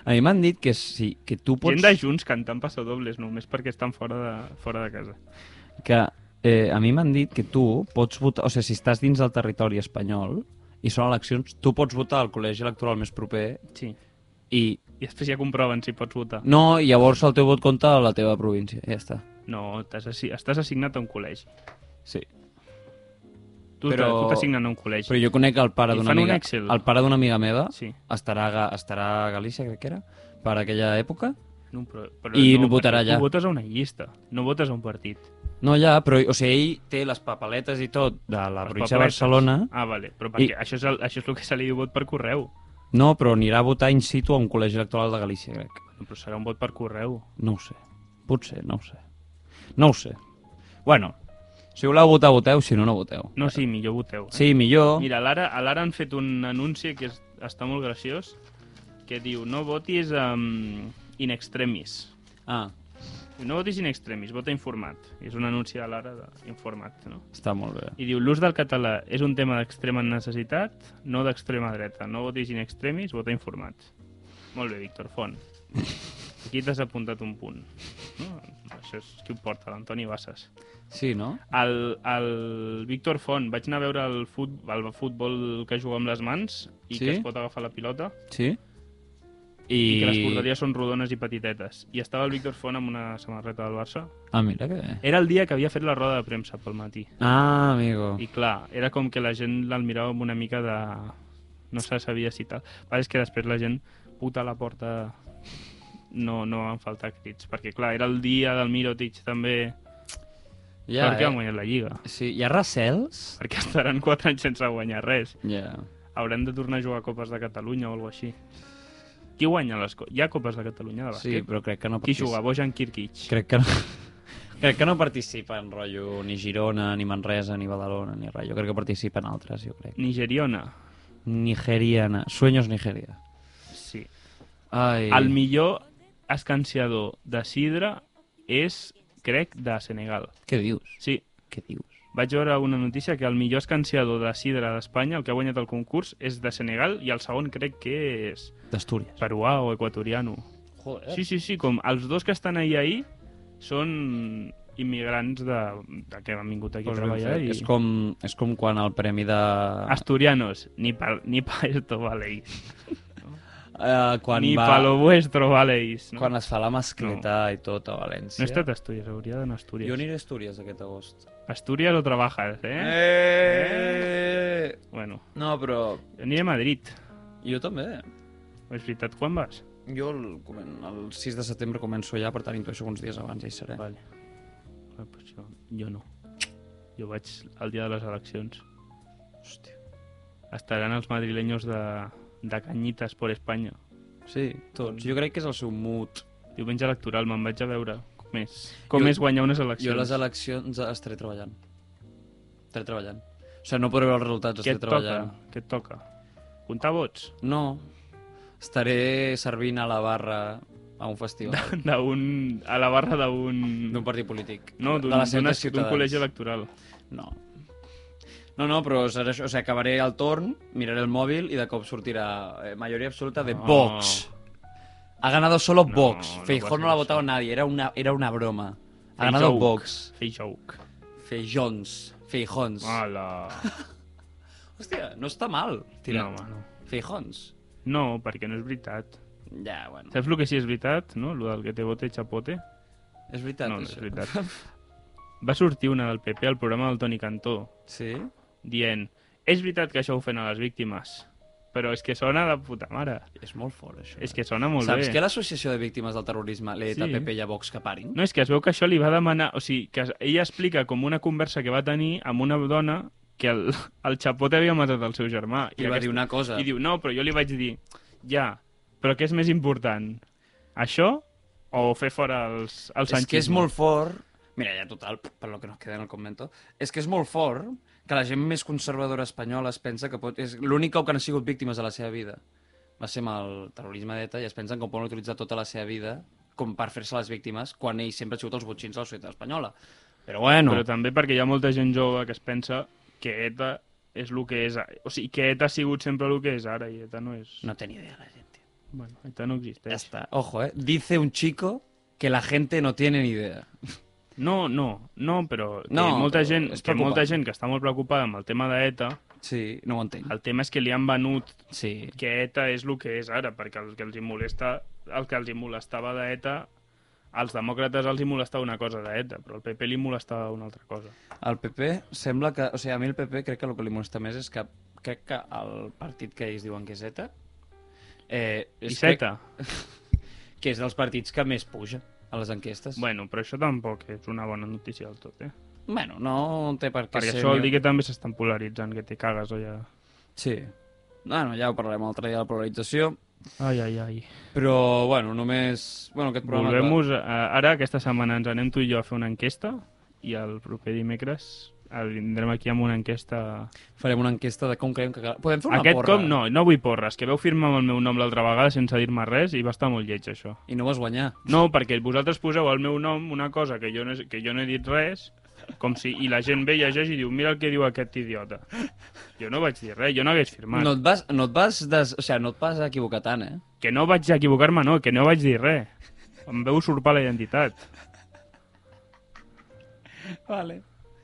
Speaker 12: A mi m'han dit que sí, que tu
Speaker 13: Pots...
Speaker 12: pots...
Speaker 13: Gent de Junts cantant passadobles, només perquè estan fora de, fora de casa.
Speaker 12: que eh, a mi m'han dit que tu pots votar, o sigui, si estàs dins del territori espanyol i són eleccions, tu pots votar al col·legi electoral més proper
Speaker 13: sí.
Speaker 12: i
Speaker 13: I després ja comproven si pots votar.
Speaker 12: no, i llavors el teu vot compta a la teva província, ja està.
Speaker 13: No, t'has assi- estàs assignat a un col·legi.
Speaker 12: Sí.
Speaker 13: Tu Però... t'assignen a un col·legi.
Speaker 12: Però jo conec el pare
Speaker 13: I
Speaker 12: d'una
Speaker 13: fan un
Speaker 12: amiga,
Speaker 13: Excel.
Speaker 12: el pare d'una amiga meva,
Speaker 13: sí.
Speaker 12: estarà, a Ga- estarà a Galícia, crec que era, per aquella època,
Speaker 13: No, però, però
Speaker 12: i no,
Speaker 13: no
Speaker 12: votarà
Speaker 13: perquè
Speaker 12: allà.
Speaker 13: Tu votes a una llista, no votes a un partit.
Speaker 12: No, ja, però o sigui, ell té les papeletes i tot de la província de
Speaker 13: Papeletes.
Speaker 12: Barcelona.
Speaker 13: Ah, vale. Però
Speaker 12: I,
Speaker 13: perquè I... això, és el, això és el que se li diu vot per correu.
Speaker 12: no, però anirà a votar in situ a un col·legi electoral de Galícia, crec.
Speaker 13: Bueno, però serà un vot per correu.
Speaker 12: No ho sé. Potser, no ho sé. No ho sé. Bueno, si voleu votar, voteu. Si no, no voteu.
Speaker 13: No, sí, millor voteu. Eh?
Speaker 12: Sí, millor.
Speaker 13: Mira, a l'ara a l'ara han fet un anunci que és, està molt graciós, que diu no votis um, in extremis.
Speaker 12: Ah.
Speaker 13: No votis in extremis, vota informat. És un anunci a l'ara d'informat, no?
Speaker 12: Està molt bé.
Speaker 13: I diu, l'ús del català és un tema d'extrema necessitat, no d'extrema dreta. No votis in extremis, vota informat. Molt bé, Víctor Font. Aquí t'has apuntat un punt. No? Això és qui ho porta, l'Antoni Bassas.
Speaker 12: Sí, no?
Speaker 13: El, el Víctor Font, vaig anar a veure el, fut, el futbol que juga amb les mans i
Speaker 12: Sí?
Speaker 13: que es pot agafar la pilota
Speaker 12: Sí? I...
Speaker 13: i que les porteries són rodones i petitetes. I estava el Víctor Font amb una samarreta del Barça.
Speaker 12: Ah, mira que bé.
Speaker 13: Era el dia que havia fet la roda de premsa pel matí.
Speaker 12: Ah, amigo.
Speaker 13: I clar, era com que la gent l'al mirava amb una mica de... No se sabia si tal. Però és que després la gent, puta a la porta, no, no van faltar crits. Perquè clar, era el dia del Mirotic també.
Speaker 12: Ja,
Speaker 13: perquè
Speaker 12: eh?
Speaker 13: han guanyat la Lliga.
Speaker 12: Sí, hi ha recels?
Speaker 13: Perquè estaran 4 anys sense guanyar res.
Speaker 12: Ja.
Speaker 13: Haurem de tornar a jugar a Copes de Catalunya o alguna així. Qui guanya les copes? Hi ha Copes de Catalunya de bàsquet?
Speaker 12: Sí, però crec que no
Speaker 13: Qui
Speaker 12: participa.
Speaker 13: juga? Bojan Kirkic.
Speaker 12: Crec que no... Crec que no participen, rotllo, ni Girona, ni Manresa, ni Badalona, ni res. Jo crec que participen altres, jo crec.
Speaker 13: Nigeriona.
Speaker 12: Nigeriana. Sueños Nigeria.
Speaker 13: Sí.
Speaker 12: Ai.
Speaker 13: El millor escanciador de sidra és, crec, de Senegal.
Speaker 12: Què dius?
Speaker 13: Sí.
Speaker 12: Què dius?
Speaker 13: Vaig veure una notícia que el millor escanciador de sidra d'Espanya, el que ha guanyat el concurs, és de Senegal i el segon crec que és
Speaker 12: D'Astúries.
Speaker 13: peruà o equatoriano.
Speaker 12: Joder.
Speaker 13: Sí, sí, sí, com els dos que estan ahí ahí són immigrants de, de que han vingut aquí
Speaker 12: Doncs
Speaker 13: a
Speaker 12: ben
Speaker 13: treballar.
Speaker 12: fet.
Speaker 13: I...
Speaker 12: és, com, és com quan el premi de...
Speaker 13: Asturianos, ni pa, ni pa esto valéis.
Speaker 12: Eh, quan
Speaker 13: Ni
Speaker 12: va,
Speaker 13: pa lo vuestro valéis. No?
Speaker 12: Quan es fa la mascleta no. i tot a València.
Speaker 13: No he estat a Astúries, hauria d'anar a Astúries.
Speaker 12: Jo aniré a Astúries aquest agost.
Speaker 13: Asturias o trabajas,
Speaker 12: eh? Eh!
Speaker 13: Bueno.
Speaker 12: No, però...
Speaker 13: Jo aniré a Madrid.
Speaker 12: Jo també.
Speaker 13: És veritat, quan vas?
Speaker 12: Jo el, comen... el 6 de setembre començo ja, per tant intueixo que uns dies abans ja hi seré.
Speaker 13: Vale. Ah, pues jo, jo no. Jo vaig al dia de les eleccions.
Speaker 12: Hòstia.
Speaker 13: Estaran els madrileños de, de Canyites per Espanya.
Speaker 12: Sí,
Speaker 13: Doncs
Speaker 12: tots. Jo crec que és el seu mood.
Speaker 13: Diumenge electoral, me'n vaig a veure com és, com
Speaker 12: Jo-
Speaker 13: és guanyar unes eleccions.
Speaker 12: Jo les eleccions estaré treballant. Estaré treballant. O sigui, no podré veure els resultats,
Speaker 13: Què
Speaker 12: estaré
Speaker 13: et
Speaker 12: treballant.
Speaker 13: toca? Què et toca? Comptar vots?
Speaker 12: No. Estaré servint a la barra a un festival.
Speaker 13: D'un... A la barra d'un...
Speaker 12: D'un partit polític.
Speaker 13: No,
Speaker 12: De
Speaker 13: d'un
Speaker 12: la Ciutat
Speaker 13: d'una-
Speaker 12: de Ciutadans.
Speaker 13: d'un col·legi electoral.
Speaker 12: No. No, no, però serà això. O sigui, acabaré el torn, miraré el mòbil i de cop sortirà eh, majoria absoluta de Vox. Ha ganado solo Vox.
Speaker 13: no
Speaker 12: Feijóo
Speaker 13: puede
Speaker 12: no la ha votado nadie. Era una, era una broma. Ha ganado
Speaker 13: Feijóo.
Speaker 12: Vox.
Speaker 13: Feijóo.
Speaker 12: Feijons. Feijons.
Speaker 13: Hola.
Speaker 12: Hòstia, no està mal. Tirat.
Speaker 13: No, home, no.
Speaker 12: Feijons.
Speaker 13: No, perquè no és veritat.
Speaker 12: Ja, bueno.
Speaker 13: Saps el que sí és veritat, no? El del que te bote chapote?
Speaker 12: És veritat,
Speaker 13: no, no és
Speaker 12: això.
Speaker 13: veritat. Va sortir una del PP al programa del Toni Cantó.
Speaker 12: Sí?
Speaker 13: Dient, és veritat que això ofèn a les víctimes, però és que sona de puta mare.
Speaker 12: És molt fort, això.
Speaker 13: És que sona molt
Speaker 12: Saps
Speaker 13: bé.
Speaker 12: que l'Associació de Víctimes del Terrorisme, l'ETPP
Speaker 13: Sí.
Speaker 12: sí. i a Vox que parin?
Speaker 13: No, és que es veu que això li va demanar... O sigui, que es- ella explica com una conversa que va tenir amb una dona que el, el xapote havia matat el seu germà.
Speaker 12: I va dir una cosa.
Speaker 13: I diu, no, però jo li vaig dir, ja, però què és més important? Això o fer fora els, el
Speaker 12: és que és
Speaker 13: sanchisme?"
Speaker 12: molt fort... Mira, ja total, per lo que nos queda en el convento. És que és molt fort que la gent més conservadora espanyola es pensa que pot... És l'únic cop que han sigut víctimes de la seva vida. Va ser amb el terrorisme d'ETA i es pensen que ho poden utilitzar tota la seva vida com per fer-se les víctimes quan ells sempre han sigut els botxins de la societat espanyola. Però bueno...
Speaker 13: Però també perquè hi ha molta gent jove que es pensa que ETA és el que és... a- O sigui, que ETA ha sigut sempre el que és ara i ETA no és...
Speaker 12: No té ni idea la gent,
Speaker 13: tio. Bueno, ETA no existeix. Ja
Speaker 12: està. Ojo, eh? Dice un chico que la gente no tiene ni idea.
Speaker 13: No, no, no, però que
Speaker 12: No,
Speaker 13: molta,
Speaker 12: però
Speaker 13: gent,
Speaker 12: és
Speaker 13: que molta
Speaker 12: preocupant.
Speaker 13: gent que està molt preocupada amb el tema d'ETA...
Speaker 12: Sí, no ho entenc.
Speaker 13: El tema és que li han venut
Speaker 12: sí.
Speaker 13: que ETA és el que és ara, perquè el que els hi molesta, el que els hi molestava d'ETA, als demòcrates els hi molestava una cosa d'ETA, però al PP li molestava una altra cosa.
Speaker 12: El PP sembla que... O sigui, a mi el PP crec que el que li molesta més és que crec que el partit que ells diuen que és ETA... Eh, és
Speaker 13: Iceta.
Speaker 12: Que, que és dels partits que més puja a les enquestes.
Speaker 13: Bueno, però això tampoc és una bona notícia del tot, eh?
Speaker 12: Bueno, no té per què
Speaker 13: perquè
Speaker 12: ser...
Speaker 13: això vol
Speaker 12: ni-
Speaker 13: dir que també s'estan polaritzant, que te cagues, oi?
Speaker 12: Sí. Bueno, ja ho parlarem altre dia de la polarització.
Speaker 13: Ai, ai, ai.
Speaker 12: Però, bueno, només... Bueno, aquest programa... es va-
Speaker 13: Volvem-nos... a- Ara, aquesta setmana, ens anem tu i jo a fer una enquesta i el proper dimecres eh, vindrem aquí amb una enquesta...
Speaker 12: Farem una enquesta de com creiem que... cal- Podem fer una
Speaker 13: Aquest
Speaker 12: porra.
Speaker 13: cop no, no vull porres, que veu firmar amb el meu nom l'altra vegada sense dir-me res i va estar molt lleig, això.
Speaker 12: I no vas guanyar.
Speaker 13: No, perquè vosaltres poseu al meu nom una cosa que jo no, he- que jo no he dit res, com si... I la gent ve i llegeix i diu, mira el que diu aquest idiota. Jo no vaig dir res, jo no hagués firmat.
Speaker 12: No et vas, no et vas, des... o sigui, no et vas equivocar tant, eh?
Speaker 13: Que no vaig equivocar-me, no, que no vaig dir res. Em veu usurpar la identitat.
Speaker 12: Vale.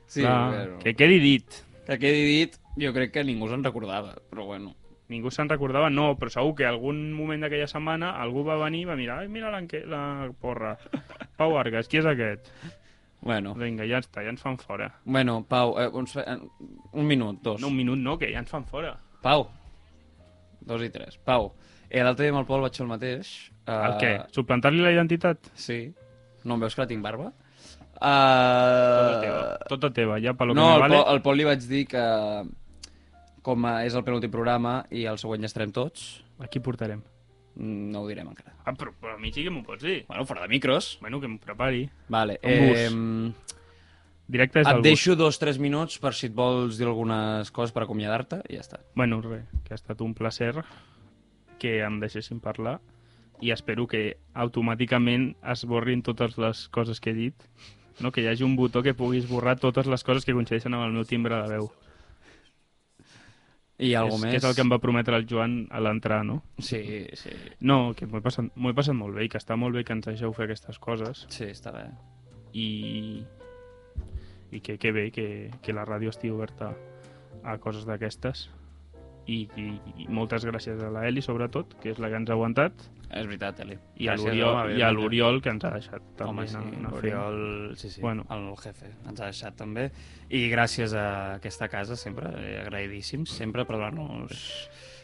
Speaker 12: Sí,
Speaker 13: Clar,
Speaker 12: però...
Speaker 13: que quedi dit.
Speaker 12: Que quedi dit, jo crec que ningú se'n recordava, però bueno.
Speaker 13: Ningú se'n recordava, no, però segur que algun moment d'aquella setmana algú va venir i va mirar, ai, mira l'enque- la porra. Pau Argas, qui és aquest?
Speaker 12: Bueno.
Speaker 13: Vinga, ja està, ja ens fan fora.
Speaker 12: Bueno, Pau, eh, uns, eh, un minut, dos.
Speaker 13: No, un minut no, que ja ens fan fora.
Speaker 12: Pau. Dos i tres. Pau, eh, l'altre dia amb el Pol vaig fer el mateix. Uh,
Speaker 13: El què? Suplantar-li la identitat?
Speaker 12: Sí. No em veus que la tinc barba? Eh, Uh...
Speaker 13: Tota teva, tota teva, ja, per lo
Speaker 12: Ah. no,
Speaker 13: que me
Speaker 12: al
Speaker 13: vale.
Speaker 12: Pol, al Pol li vaig dir que com eh, és el penúltim programa i el següent ja estarem tots,
Speaker 13: Aquí portarem.
Speaker 12: mm, no ho direm encara.
Speaker 13: Ah, però, però a mi sí que m'ho pots dir.
Speaker 12: Bueno, fora de micros.
Speaker 13: Bueno, que em prepari.
Speaker 12: Vale,
Speaker 13: Un bus.
Speaker 12: em,
Speaker 13: Directe des del
Speaker 12: et
Speaker 13: bus.
Speaker 12: deixo dos o tres minuts per si et vols dir algunes coses per acomiadar-te i ja està.
Speaker 13: Bueno, res, que ha estat un placer que em deixessin parlar i espero que automàticament esborrin totes les coses que he dit, no? que hi hagi un botó que pugui esborrar totes les coses que coincideixen amb el meu timbre de veu.
Speaker 12: I algo
Speaker 13: és,
Speaker 12: més?
Speaker 13: Que és el que em va prometre el Joan a l'entrar, no?
Speaker 12: Sí, sí.
Speaker 13: No, que m'ho he, passat, m'ho he passat molt bé i que està molt bé que ens deixeu fer aquestes coses.
Speaker 12: Sí, està bé.
Speaker 13: I, i que, que bé que, que la ràdio estigui oberta a coses d'aquestes. I, i, I moltes gràcies a la Eli, sobretot, que és la que ens ha aguantat.
Speaker 12: És veritat, Eli.
Speaker 13: I a
Speaker 12: Gràcies,
Speaker 13: l'Oriol
Speaker 12: home,
Speaker 13: i a
Speaker 12: bé,
Speaker 13: l'Oriol, que ens ha deixat també.
Speaker 12: Home, sí,
Speaker 13: anar- anar fent.
Speaker 12: l'Oriol, sí, sí,
Speaker 13: Bueno,
Speaker 12: bueno. el jefe, ens ha deixat també. I gràcies a aquesta casa, sempre, eh, agraïdíssims, sempre per donar-nos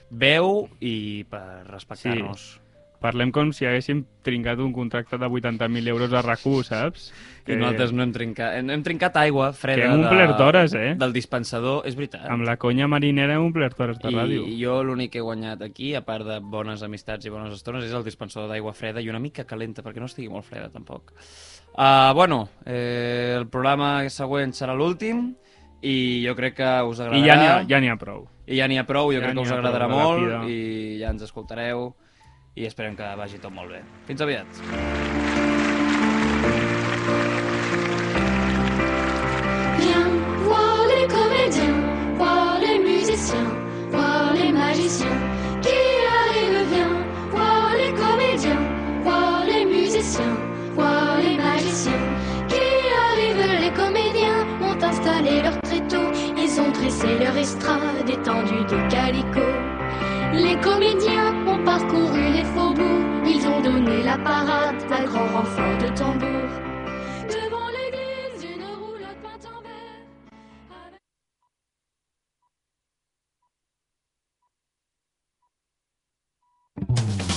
Speaker 12: veu i per respectar-nos.
Speaker 13: sí. Parlem com si haguéssim trincat un contracte de 80.000 euros a rac saps?
Speaker 12: Que... I nosaltres no hem trincat, hem, hem trincat aigua freda
Speaker 13: Que hem omplert hores, eh?
Speaker 12: del dispensador, és veritat.
Speaker 13: Amb la conya marinera hem omplert hores de
Speaker 12: I
Speaker 13: ràdio.
Speaker 12: jo l'únic que he guanyat aquí, a part de bones amistats i bones estones, és el dispensador d'aigua freda i una mica calenta, perquè no estigui molt freda tampoc. Uh, bueno, eh, el programa següent serà l'últim i jo crec que us agradarà.
Speaker 13: I ja n'hi ha, ja n'hi ha prou.
Speaker 12: I ja n'hi ha prou, jo
Speaker 13: Ja
Speaker 12: crec
Speaker 13: n'hi
Speaker 12: que us
Speaker 13: ha prou
Speaker 12: agradarà
Speaker 13: de la
Speaker 12: molt
Speaker 13: vida.
Speaker 12: i ja ens escoltareu i esperem que vagi tot molt bé. Fins aviat.
Speaker 14: Viens voir les comédiens, c'est leur estrade étendue de calicot. Les comédiens ont parcouru les faubourgs, ils ont donné la parade à grand renfort de tambour. Devant l'église, une roulotte peinte en vert.
Speaker 1: Thank you.